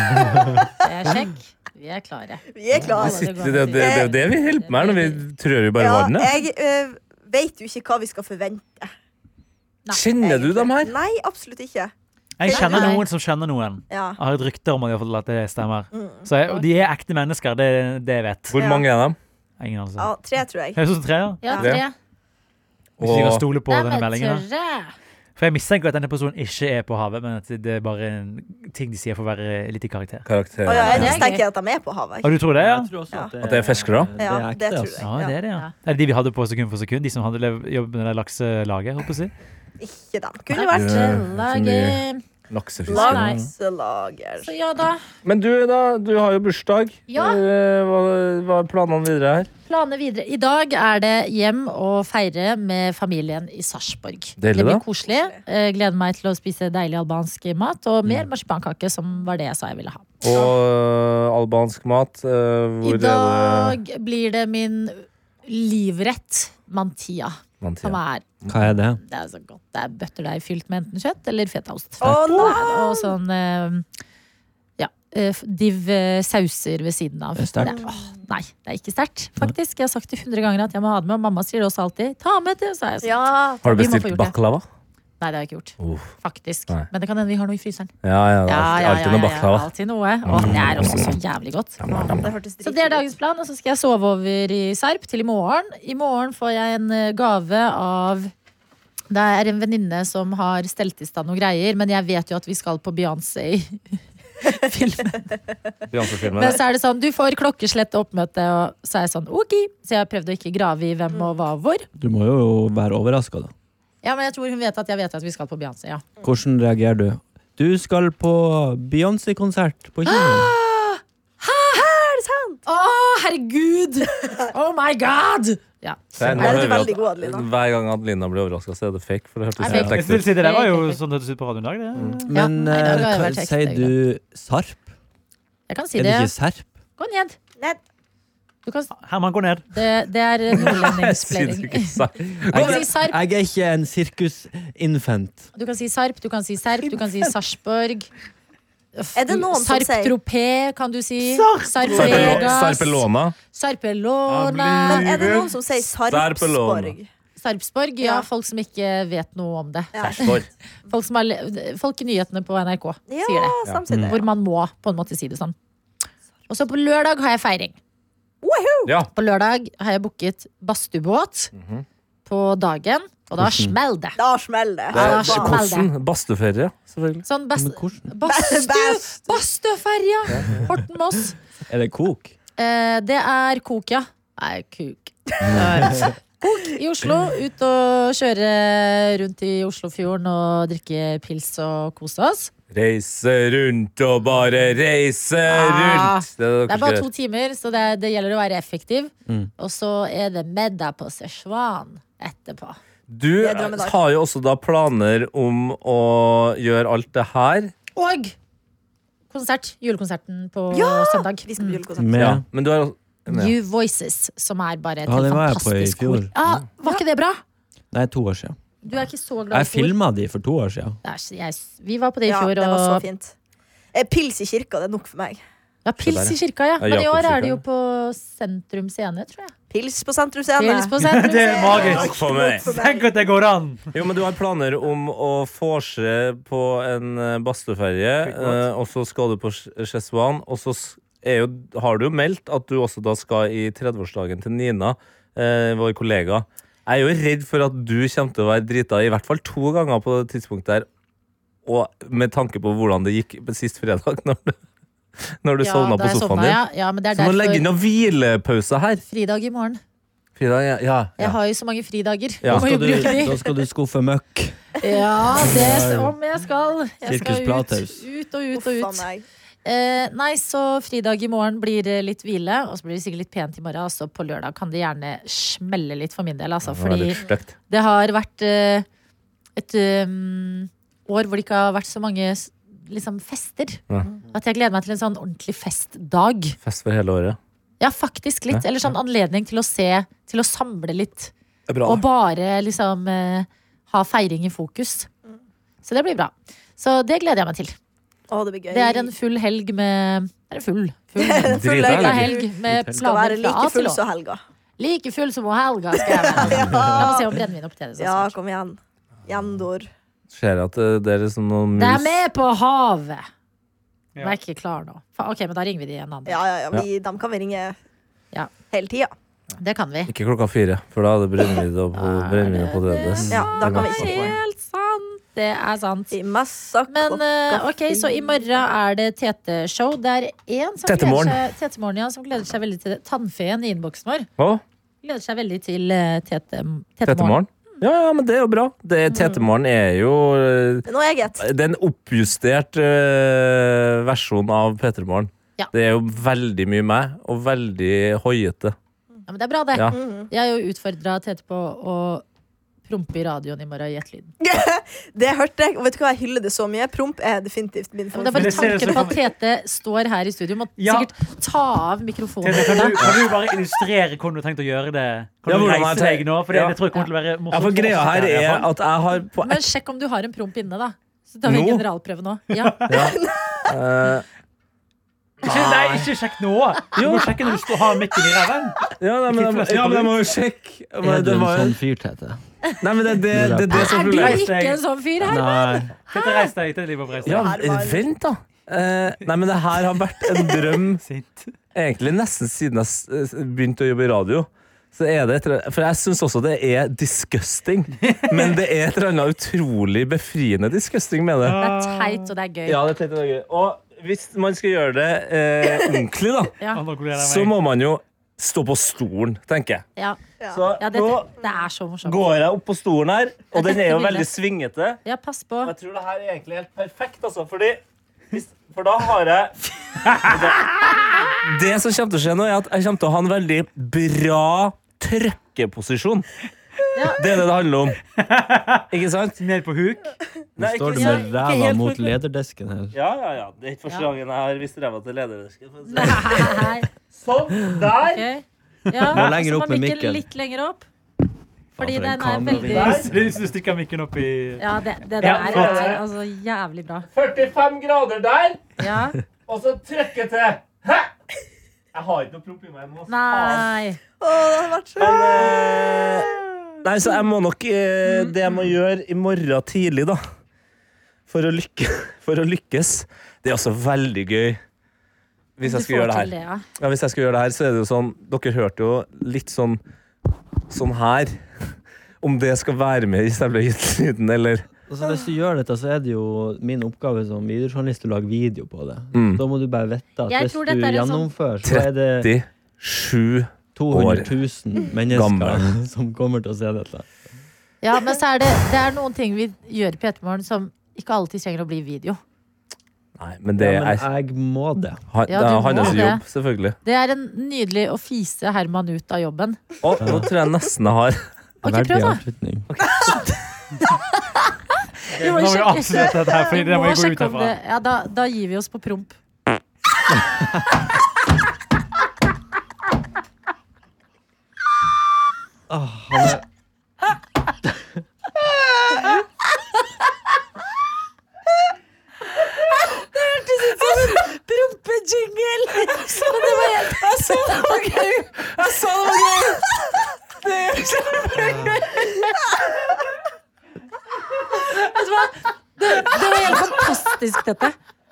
Speaker 2: Så jeg sjekker. Vi er klare.
Speaker 3: Vi Ah, er
Speaker 4: Det,
Speaker 3: klare.
Speaker 2: Ja, det
Speaker 4: sitter,
Speaker 2: går
Speaker 4: det, det, det er jo det vi holder på med her, når vi trør jo bare
Speaker 3: Ja,
Speaker 4: vannet.
Speaker 3: jeg eh, vet jo ikke hva vi skal forvente.
Speaker 2: Nei.
Speaker 4: Kjenner du dem her?
Speaker 3: Nei, absolutt ikke.
Speaker 6: Jeg kjenner
Speaker 2: Nei.
Speaker 6: noen som kjenner noen.
Speaker 3: Ja.
Speaker 6: Jeg har et rykte om at i hvert fall at det stemmer. Så jeg, og de er ekte mennesker, det, det jeg vet
Speaker 4: Hvor
Speaker 3: Ja.
Speaker 4: mange er dem?
Speaker 6: ingen. Altså.
Speaker 3: ja, tre, tror jeg.
Speaker 6: Høres ut som tre, ja.
Speaker 2: Ja,
Speaker 3: Ja.
Speaker 2: tre.
Speaker 6: Hvis vi kan
Speaker 4: Og
Speaker 6: stole på
Speaker 2: Nei,
Speaker 6: denne
Speaker 2: men
Speaker 6: meldingen. da.
Speaker 2: tørre.
Speaker 6: For jeg mistenker at denne personen ikke er på havet, men at det er bare en ting de sier for å være litt i karakter.
Speaker 3: Å ja, jeg
Speaker 4: karakterer.
Speaker 2: det er
Speaker 3: mistenker at de er på havet.
Speaker 6: Og du tror det, ja?
Speaker 5: Jeg tror også at,
Speaker 4: At det er fiskere?
Speaker 5: Det
Speaker 3: Ja,
Speaker 5: er
Speaker 3: det
Speaker 5: ekte,
Speaker 3: tror
Speaker 5: altså.
Speaker 3: jeg.
Speaker 6: Ja, det er det, ja. Det er de vi hadde på sekund for sekund, de som hadde lev- jobbet med det lakselaget, holdt på å si.
Speaker 3: Ikke dem. Kunne vært
Speaker 6: Eh,
Speaker 2: Laget.
Speaker 4: Laksefiskere.
Speaker 2: Nei.
Speaker 3: lakselager.
Speaker 2: Så ja da.
Speaker 4: Men du, da? Du har jo bursdag.
Speaker 2: Ja.
Speaker 4: Eh, Hva, hva er planene videre her?
Speaker 2: Planer videre. I dag er det hjem og feire med familien i Sarpsborg. Det
Speaker 4: Deilig,
Speaker 2: blir
Speaker 4: da.
Speaker 2: koselig. Eh, Gleder meg til å spise deilig albansk mat og mer
Speaker 4: Mm.
Speaker 2: marsipankake, som var det jeg sa jeg ville ha.
Speaker 4: Og eh, albansk mat. eh, Hvor
Speaker 2: I
Speaker 4: er det
Speaker 2: dag blir det min livrett, mantia,
Speaker 4: Man
Speaker 2: som
Speaker 4: sier.
Speaker 2: er
Speaker 5: Hva er det?
Speaker 2: Det er så godt. Det er bøtterdeig fylt med enten kjøtt eller fetaost.
Speaker 3: Å nei!
Speaker 2: Og sånn eh, ja, eh, div eh, sauser ved siden av.
Speaker 5: Det er sterkt.
Speaker 2: Det- åh, nei, det er ikke sterkt, faktisk. Jeg har sagt det 100 ganger at jeg må ha det med, og mamma sier det også alltid. Ta med det, sa jeg. sånn.
Speaker 3: Ja.
Speaker 4: Har du
Speaker 2: Vi må få
Speaker 4: bestilt
Speaker 2: gjort det.
Speaker 4: baklava?
Speaker 2: Nei, det har jeg ikke gjort.
Speaker 4: Uff.
Speaker 2: Faktisk.
Speaker 4: Nei.
Speaker 2: Men det kan hende vi har noe i fryseren.
Speaker 4: Ja, ja, det er alltid, alltid noe baklava. Mm.
Speaker 2: Alltid noe. Og det er også så jævlig godt.
Speaker 3: Det hørtes
Speaker 2: Så det er
Speaker 3: dritgodt ut.
Speaker 2: dagens plan, og så skal jeg sove over i Sarp til i morgen. I morgen får jeg en eh, gave av Det er en venninne som har stelt i stand noen greier, men jeg vet jo at vi skal på Beyoncé-filmen. Men så er det sånn, du får klokkeslett og oppmøte, og så er jeg sånn ok. Så jeg har prøvd å ikke grave i hvem og hva og hvor.
Speaker 5: Du må jo være overraska, da.
Speaker 2: Ja, men jeg tror hun vet at jeg vet at vi skal på Beyoncé, ja.
Speaker 5: Hvordan reagerer du? Du skal på Beyoncé-konsert på
Speaker 2: Ah!
Speaker 5: kino.
Speaker 2: Å, herregud! Oh my god! Ja.
Speaker 4: Nei, nå
Speaker 3: Nei, du er
Speaker 4: hører vi at-
Speaker 3: veldig god, Adelina.
Speaker 4: Hver gang Adelina blir overraska, så er det fake. For det Mm. hørtes
Speaker 2: Er
Speaker 4: helt
Speaker 2: fake.
Speaker 6: Jeg
Speaker 4: ekte
Speaker 2: <laughs>
Speaker 6: skulle
Speaker 4: ut.
Speaker 6: si det, det var jo sånn det hørtes ut på radioen i dag, det.
Speaker 5: Men
Speaker 2: Ja, nei,
Speaker 5: eh,
Speaker 2: da har jeg vært
Speaker 5: hva-
Speaker 2: ekte,
Speaker 5: sier du Sarp?
Speaker 2: Jeg kan si
Speaker 5: Er det
Speaker 2: det.
Speaker 5: ikke Serp?
Speaker 2: Gå ned.
Speaker 3: Ned.
Speaker 2: Du kan,
Speaker 6: Herman, gå ned.
Speaker 2: det, det
Speaker 4: Sier
Speaker 2: er
Speaker 4: du ikke
Speaker 2: nordlendingsplating.
Speaker 4: sant?
Speaker 2: Du kan si Sarp,
Speaker 5: Jeg er ikke en sirkusinfant.
Speaker 2: du kan si Sarp, du kan si Serp, du kan si Sarpsborg.
Speaker 3: Er det noen som
Speaker 2: Sarp
Speaker 3: sier-
Speaker 2: Tropé, kan du si.
Speaker 6: Sarp-
Speaker 2: Sarp
Speaker 4: Sarpelo-
Speaker 2: Vegas.
Speaker 4: Sarpelona.
Speaker 2: Sarpelona.
Speaker 3: Men er det noen som sier Sarpsborg?
Speaker 4: Sarpelån.
Speaker 2: Sarpsborg. Ja,
Speaker 3: Ja.
Speaker 2: folk som ikke vet noe om det.
Speaker 3: Ja,
Speaker 2: Folk, som har, le- folk i nyhetene på NRK sier
Speaker 3: ja
Speaker 2: det. Mm.
Speaker 3: samtidig.
Speaker 2: Hvor man må på en måte si det sånn. Og så på lørdag har jeg feiring.
Speaker 3: Woohoo!
Speaker 4: Ja.
Speaker 2: På lørdag har jeg booket badstuebåt på dagen, og da smeller det.
Speaker 3: Da
Speaker 4: Det
Speaker 3: smeller det.
Speaker 2: Ja,
Speaker 4: er
Speaker 2: da-
Speaker 4: Hvordan? Badstuferie, selvfølgelig.
Speaker 2: Sånn best,
Speaker 5: Men hvordan?
Speaker 2: Bastu,
Speaker 3: Bast.
Speaker 2: Bastuferja! Horten-Moss.
Speaker 5: Er det kok?
Speaker 2: Eh, det er kok, ja. Nei, kuk. Kok i Oslo. Ut og kjøre rundt i Oslofjorden og drikke pils og kose oss.
Speaker 4: Reise rundt og bare reise
Speaker 2: Ah,
Speaker 4: rundt! Det er,
Speaker 2: Det er bare to timer, så det, det gjelder å være effektiv.
Speaker 5: Mm.
Speaker 2: Og så er det middag på Szechuan etterpå.
Speaker 4: Du
Speaker 3: Jeg drømmer dag.
Speaker 4: har jo også da planer om å gjøre alt det her.
Speaker 2: Og konsert. Julekonserten på
Speaker 3: Ja!
Speaker 2: søndag. Mm.
Speaker 3: Vi skal på julekonsert.
Speaker 5: Med
Speaker 4: Ja, men du har ja.
Speaker 2: New Voices, som er bare et
Speaker 5: Ja,
Speaker 2: helt
Speaker 5: det var jeg på i
Speaker 2: fantastisk
Speaker 5: fjor.
Speaker 2: kor. Ja, var ikke det bra?
Speaker 5: Nei, to år siden.
Speaker 2: Du er ikke så glad
Speaker 5: Jeg
Speaker 2: i kor.
Speaker 5: filma de for to år siden.
Speaker 2: Det er- jeg, vi var på det i
Speaker 3: Ja,
Speaker 2: fjor,
Speaker 3: det var så
Speaker 2: og
Speaker 3: fint. Eh, Pils i kirka, det er nok for meg.
Speaker 2: Ja, Pils
Speaker 4: der,
Speaker 2: i kirka, ja. Men i
Speaker 4: Jakobs
Speaker 2: år
Speaker 4: kirka,
Speaker 2: er det jo
Speaker 4: ja.
Speaker 2: på Sentrum Scene, tror jeg.
Speaker 3: Pils på Sentrum Scene.
Speaker 2: Pils på Sentrum
Speaker 6: Det er
Speaker 2: Scene.
Speaker 6: magisk.
Speaker 4: For meg.
Speaker 6: Tenk at det går an!
Speaker 4: Jo, men du har planer om å forse på en eh, badstueferje, eh, og så skal du på Cheswan, og så s- er jo, har du jo meldt at du også da skal i 30-årsdagen til Nina, eh, vår kollega. Jeg er jo redd for at du kommer til å være drita i hvert fall to ganger på det tidspunktet der, og med tanke på hvordan det gikk sist fredag, <laughs> når du, når du
Speaker 2: Ja,
Speaker 4: sovna
Speaker 2: da
Speaker 4: på
Speaker 2: jeg
Speaker 4: sofaen
Speaker 2: sovna,
Speaker 4: din.
Speaker 2: Ja. ja, men det er
Speaker 4: Så må du legge inn
Speaker 2: derfor
Speaker 4: noen hvilepauser her.
Speaker 2: fridag i morgen.
Speaker 4: Frida, ja, ja,
Speaker 2: Jeg
Speaker 4: ja.
Speaker 2: har jo så mange fridager.
Speaker 4: Ja.
Speaker 2: Jeg må jo
Speaker 5: Skal du,
Speaker 2: bruke de.
Speaker 5: da skal du skuffe møkk.
Speaker 2: Ja,
Speaker 4: <laughs>
Speaker 2: det om jeg skal. Jeg
Speaker 5: Sirkus
Speaker 2: skal ut,
Speaker 5: Plathaus.
Speaker 2: ut og ut og
Speaker 3: Uff a
Speaker 2: ut.
Speaker 3: meg.
Speaker 2: Eh, nei, så fridag i morgen blir det litt hvile, og så blir det sikkert litt pent i morgen. Og så på lørdag kan det gjerne smelle litt for min del, altså.
Speaker 4: Det var
Speaker 2: Fordi
Speaker 4: litt stygt.
Speaker 2: det har vært eh, et um, år hvor det ikke har vært så mange s- liksom, fester.
Speaker 4: Ja.
Speaker 2: At jeg gleder meg til en sånn ordentlig festdag.
Speaker 4: Fest for hele året.
Speaker 2: Ja, faktisk litt. Eller sånn anledning til å se, til å samle litt.
Speaker 4: Det er bra.
Speaker 2: Og bare liksom eh, ha feiring i fokus. Så det blir bra. Så det gleder jeg meg til.
Speaker 3: Å, det blir gøy.
Speaker 2: Det er en full helg med Er det full?
Speaker 3: <laughs>
Speaker 2: Full,
Speaker 3: En full
Speaker 4: Drita
Speaker 2: full
Speaker 3: helg.
Speaker 2: helg med
Speaker 5: Full helg.
Speaker 3: Skal være
Speaker 2: planer fra
Speaker 3: like
Speaker 2: A til
Speaker 3: full
Speaker 2: Å.
Speaker 3: som helga.
Speaker 2: Like full som helga, skal
Speaker 3: <laughs>
Speaker 2: jeg være. La meg se om brennevin opp til det. så
Speaker 3: Ja,
Speaker 2: snart. Mm.
Speaker 3: kom igjen. Gjendor.
Speaker 4: Ser at eh, det er liksom noen
Speaker 2: Det er
Speaker 4: mus
Speaker 2: med på havet!
Speaker 6: Ja.
Speaker 2: Men jeg er ikke klar nå. Fa- Ok, men da ringer vi de en annen dag.
Speaker 3: Ja, ja, ja. Vi, dem kan vi ringe
Speaker 2: Ja.
Speaker 3: hele tida.
Speaker 2: Det kan vi.
Speaker 4: Ikke klokka fire, for da er det brennevin og på- brennevin og podredes.
Speaker 3: Ja, da kan vi
Speaker 2: Det er
Speaker 3: ikke
Speaker 2: helt sant. Det er sant.
Speaker 3: I messa
Speaker 2: Men eh,
Speaker 3: klokka
Speaker 2: ok, så i morgen er det Tete-show. Det er én som, gleder
Speaker 4: Tete-morgen.
Speaker 2: seg- Tete-morgen, ja, som gleder seg veldig til det. Tannfeen i innboksen vår
Speaker 4: Å,
Speaker 2: gleder seg veldig til eh, Tete- Tete-morgen.
Speaker 4: Tetemorgen? Ja, ja, men det er jo bra. Det- Tetemorgen er jo eh,
Speaker 3: Det er noe eget.
Speaker 4: Det er en oppjustert eh, versjon av P3morgen.
Speaker 2: Ja.
Speaker 4: Det er jo veldig mye meg, og veldig hoiete.
Speaker 2: Ja, men det er bra, det.
Speaker 4: Ja.
Speaker 2: Jeg har jo utfordra Tete på å prompe i radioen i morgen. Gjett lyden.
Speaker 3: <laughs> Det hørte jeg, og vet du hva, jeg hyller det så mye. Promp er definitivt min
Speaker 2: Men
Speaker 3: form.
Speaker 2: det er bare
Speaker 6: det ser ut
Speaker 2: tanken
Speaker 6: som-
Speaker 2: på at Tete står her i studio. Må
Speaker 6: Ja.
Speaker 2: sikkert ta av mikrofonen.
Speaker 6: Tete, <laughs> kan, du,
Speaker 2: Tete.
Speaker 6: kan du bare illustrere hvordan du har tenkt å gjøre det? Kan
Speaker 4: Ja,
Speaker 6: du
Speaker 4: hvordan
Speaker 6: reise
Speaker 4: jeg tenker-
Speaker 6: deg nå? For det,
Speaker 4: Ja.
Speaker 6: det tror jeg kommer til å være
Speaker 4: Ja,
Speaker 6: morsomt.
Speaker 4: for greia
Speaker 6: oss
Speaker 4: her
Speaker 6: der, i hvert
Speaker 4: er
Speaker 6: fall.
Speaker 4: at jeg har på
Speaker 2: Men sjekk om du har en promp inne, da. Så tar vi en
Speaker 4: Nå?
Speaker 2: generalprøve nå. Ja.
Speaker 4: eh,
Speaker 6: ikke, Nei, ikke sjekk nå! Du må sjekke når du står, har mikken i ræven.
Speaker 4: ja, nei, men, jeg- ja, men jeg må jo sjekke.
Speaker 5: Er
Speaker 4: Men
Speaker 5: du
Speaker 4: Det
Speaker 5: en
Speaker 4: var,
Speaker 5: sånn fyr, Tete?
Speaker 4: nei, men det, er det, det, er det som
Speaker 2: Er
Speaker 4: er
Speaker 2: du
Speaker 4: problemet.
Speaker 2: ikke en sånn fyr her?
Speaker 5: Nei.
Speaker 6: Tete, reis deg. Tete, Liv, reis deg.
Speaker 4: Ja,
Speaker 3: her var-
Speaker 4: vent da Eh, Nei, men det her har vært en drøm
Speaker 6: Sint.
Speaker 4: Egentlig nesten siden jeg s- s- begynte å jobbe i radio Så er det et eller annet For jeg synes også det er disgusting Men det er et eller annet utrolig befriende disgusting med det
Speaker 2: Det er teit, og det er gøy.
Speaker 4: Ja, det tenkte jeg var gøy Og hvis man skal gjøre det eh, ordentlig da
Speaker 2: Ja.
Speaker 6: Han regulerer meg.
Speaker 4: Så må man jo stå på stolen, tenker jeg
Speaker 2: Ja.
Speaker 4: Så
Speaker 2: Ja, det,
Speaker 4: nå
Speaker 2: det er så morsomt.
Speaker 4: går jeg opp på stolen her Og den er jo veldig svingete
Speaker 2: Ja, pass på.
Speaker 4: Jeg tror det her er egentlig helt perfekt, altså, fordi hvis, For da har jeg Det som kommer til å skje nå, er at jeg kommer til å ha en veldig bra trøkkeposisjon.
Speaker 2: Ja.
Speaker 4: Det er det det handler om. Ikke sant?
Speaker 6: Ned på huk.
Speaker 4: Nei,
Speaker 5: Står du
Speaker 4: ikke-
Speaker 5: med
Speaker 4: ikke
Speaker 5: ræva
Speaker 4: helt
Speaker 5: mot
Speaker 4: fullt.
Speaker 5: lederdesken her?
Speaker 4: Ja, ja, ja. Det er ikke første gangen jeg har vist ræva til lederdisken. for å si det.
Speaker 2: Nei.
Speaker 4: Sånn! Der!
Speaker 2: ok. Ja,
Speaker 5: Nå lenger
Speaker 2: så må
Speaker 5: opp med
Speaker 2: mikken
Speaker 5: mikken. Altså,
Speaker 2: litt lenger opp. Fordi
Speaker 5: for
Speaker 2: den
Speaker 5: en
Speaker 2: er
Speaker 5: kamera.
Speaker 2: veldig
Speaker 6: Hvis hvis du stikker mikken opp i
Speaker 2: Ja, det, det der
Speaker 6: Ja, flott.
Speaker 2: er altså jævlig bra.
Speaker 4: 45 grader der,
Speaker 2: Ja.
Speaker 4: og så trøkke til. Hæ? Jeg har ikke noe promp i meg. jeg må
Speaker 2: Nei.
Speaker 3: Å, det har vært så
Speaker 4: Men eh, Nei, så jeg må nok eh, Det jeg må gjøre i morgen tidlig, da, for å, lykke, <laughs> for å lykkes Det er også veldig gøy. Hvis jeg
Speaker 2: Du
Speaker 4: skal gjøre
Speaker 2: får
Speaker 4: det
Speaker 2: til
Speaker 4: her.
Speaker 2: det, ja.
Speaker 4: Ja, hvis jeg skal gjøre det her, så er det jo sånn Dere hørte jo litt sånn sånn her. <laughs> Om det skal være med i selve lyden, eller
Speaker 5: Altså, hvis du gjør dette, så er det jo min oppgave som videojournalist å lage video på det.
Speaker 4: Mm.
Speaker 5: Da må du bare vite at
Speaker 2: Jeg
Speaker 5: hvis
Speaker 2: tror
Speaker 5: du
Speaker 2: dette er en sånn-
Speaker 5: gjennomfører, så er det
Speaker 4: 37
Speaker 5: 200
Speaker 2: <laughs>
Speaker 5: 000 mennesker
Speaker 4: gammel.
Speaker 5: <laughs> som kommer til å se dette.
Speaker 2: ja, men så er det, det er noen ting vi gjør i P3morgen som ikke alltid trenger å bli video.
Speaker 4: Nei, men det
Speaker 5: ja,
Speaker 4: er,
Speaker 5: men jeg må det.
Speaker 4: han- det
Speaker 2: Ja,
Speaker 4: er
Speaker 2: du må
Speaker 4: hans
Speaker 2: det.
Speaker 4: jobb, selvfølgelig.
Speaker 2: Det er en nydelig å fise Herman ut av jobben.
Speaker 4: Og nå tror jeg nesten jeg har
Speaker 2: Ok,
Speaker 5: Verdig
Speaker 2: prøv da.
Speaker 5: avslutning.
Speaker 2: Vi må
Speaker 6: Nå må vi
Speaker 2: sjekke-
Speaker 6: avslutte dette her,
Speaker 2: vi
Speaker 6: for det må
Speaker 2: må
Speaker 6: jeg gå ut
Speaker 2: sjekke om
Speaker 6: herfra.
Speaker 2: det- Ja, da, da gir vi oss på promp.
Speaker 5: Åh, han er...
Speaker 2: <laughs> Prompejingle!
Speaker 4: Jeg sa det var gøy!
Speaker 2: <laughs> Vet du hva? Det, det var helt fantastisk, dette.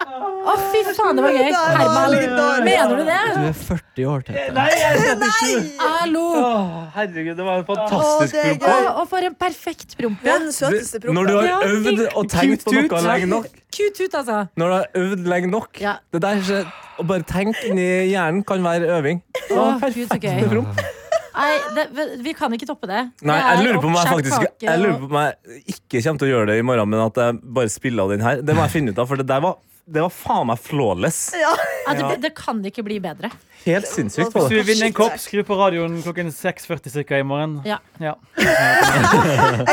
Speaker 2: Å, fy faen, det var gøy. Herman, mener du det?
Speaker 9: Du er 40 år, Tete.
Speaker 6: Nei, jeg er 37.
Speaker 2: Hallo!
Speaker 6: Åh, herregud, det var en
Speaker 3: Å,
Speaker 6: fantastisk
Speaker 3: det er
Speaker 6: film.
Speaker 3: gøy.
Speaker 2: Å, og for en perfekt promp.
Speaker 3: Den søteste
Speaker 4: Når du har
Speaker 3: prompen.
Speaker 2: Ja,
Speaker 4: øvd og tenkt på
Speaker 6: Cute
Speaker 4: noe
Speaker 6: ut.
Speaker 4: lenge nok
Speaker 2: Kut ut, altså.
Speaker 4: Når du har øvd lenge nok
Speaker 2: Ja.
Speaker 4: Det der skjer Å bare tenke inni hjernen kan være øving.
Speaker 2: Å, Gud, så gøy. Nei, det, vi kan ikke toppe det.
Speaker 4: Nei,
Speaker 2: Det
Speaker 4: jeg
Speaker 2: er
Speaker 4: lurer på om jeg
Speaker 2: oppskjært
Speaker 4: faktisk
Speaker 2: kake
Speaker 4: Jeg lurer
Speaker 2: og-
Speaker 4: på om jeg ikke kommer til å gjøre det i morgen, men at jeg bare spiller av den her. Det må jeg finne ut av, for det der var, det var faen meg flawless.
Speaker 2: ja, det, det kan ikke bli bedre.
Speaker 4: Helt sinnssykt. var
Speaker 6: Hvis du
Speaker 4: det.
Speaker 6: vil vinne en kopp, skru på radioen klokken 6.40 cirka i morgen.
Speaker 2: Ja.
Speaker 6: Ja.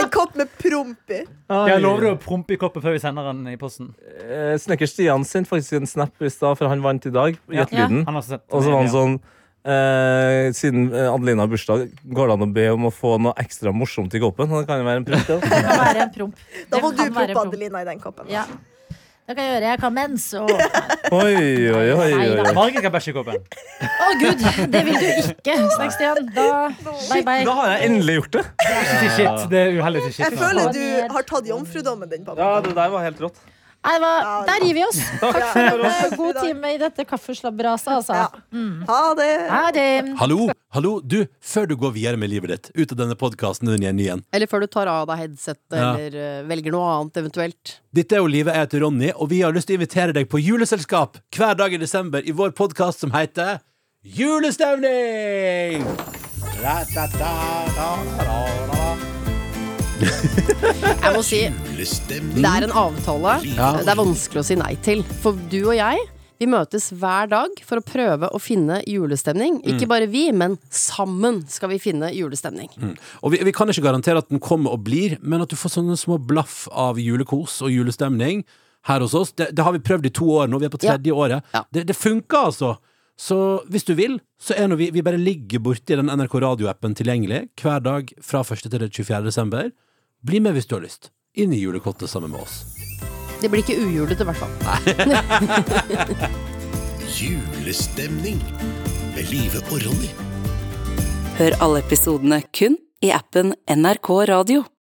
Speaker 3: En kopp med promp i.
Speaker 6: Jeg lover å prompe i koppen før vi sender den i posten.
Speaker 4: Eh, Snekker Stian sendte faktisk en snap i stad, for han vant i dag.
Speaker 6: Ja.
Speaker 4: Gjett lyden.
Speaker 6: Han har sett
Speaker 4: Og så var han sånn eh, Siden eh, Adelina har bursdag, går det an å be om å få noe ekstra morsomt i koppen? Det kan jo være en prompt, det.
Speaker 2: <laughs> Det kan være en promp.
Speaker 3: <laughs> Da
Speaker 2: Det
Speaker 3: må
Speaker 2: kan
Speaker 3: du
Speaker 2: være en
Speaker 3: proppe
Speaker 2: promp.
Speaker 3: Adelina i den koppen.
Speaker 2: Ja. Det kan jeg gjøre. Jeg kan mens og Å,
Speaker 4: Oi, oi, oi. oi, oi.
Speaker 6: Margit kan bæsje i koppen.
Speaker 2: gud! Det vil du ikke, Snakk-Stian. Da bye,
Speaker 4: Da
Speaker 2: bye.
Speaker 4: har jeg endelig gjort det.
Speaker 6: Ikke til shit. Det er uheldig til
Speaker 3: Jeg
Speaker 6: shit. altså.
Speaker 3: føler
Speaker 2: Ja.
Speaker 3: du har tatt jomfrudommen din, pappa.
Speaker 4: Ja, det der var helt rått.
Speaker 2: Nei, det var, der gir vi oss. Takk for en eh, god
Speaker 3: Ja.
Speaker 2: time i dette kaffeslabberaset,
Speaker 3: Ja.
Speaker 2: altså.
Speaker 3: Ha det.
Speaker 2: Ha det.
Speaker 5: Hallo, hallo, du, før du går videre med livet ditt, ut av denne podkasten den igjen igjen.
Speaker 10: Eller før du tar av deg headsetet
Speaker 5: Ja.
Speaker 10: eller eh, velger noe annet eventuelt.
Speaker 5: Dette er jo livet jeg heter Ronny, og vi har lyst til å invitere deg på juleselskap hver dag i desember i vår podkast som heter Julestemning!
Speaker 10: Jeg må si, det er en avtale det er vanskelig å si nei til. For du og jeg, vi møtes hver dag for å prøve å finne julestemning.
Speaker 5: Mm.
Speaker 10: Ikke bare vi, men sammen skal vi finne julestemning.
Speaker 5: Og vi, vi kan ikke garantere at den kommer og blir, men at du får sånne små blaff av julekos og julestemning her hos oss. Det, det har vi prøvd i to år nå, vi er på tredje året.
Speaker 10: Ja.
Speaker 5: Det, det funker altså! Så hvis du vil, så er nå vi, vi bare ligger borti den NRK radioappen tilgjengelig hver dag fra 1. til 24. desember. Bli med hvis du har lyst. Inn i julekottet sammen med oss.
Speaker 10: Det blir ikke ujulete, i hvert fall.
Speaker 7: Julestemning med Live og Ronny.
Speaker 11: Hør alle episodene kun i appen NRK Radio.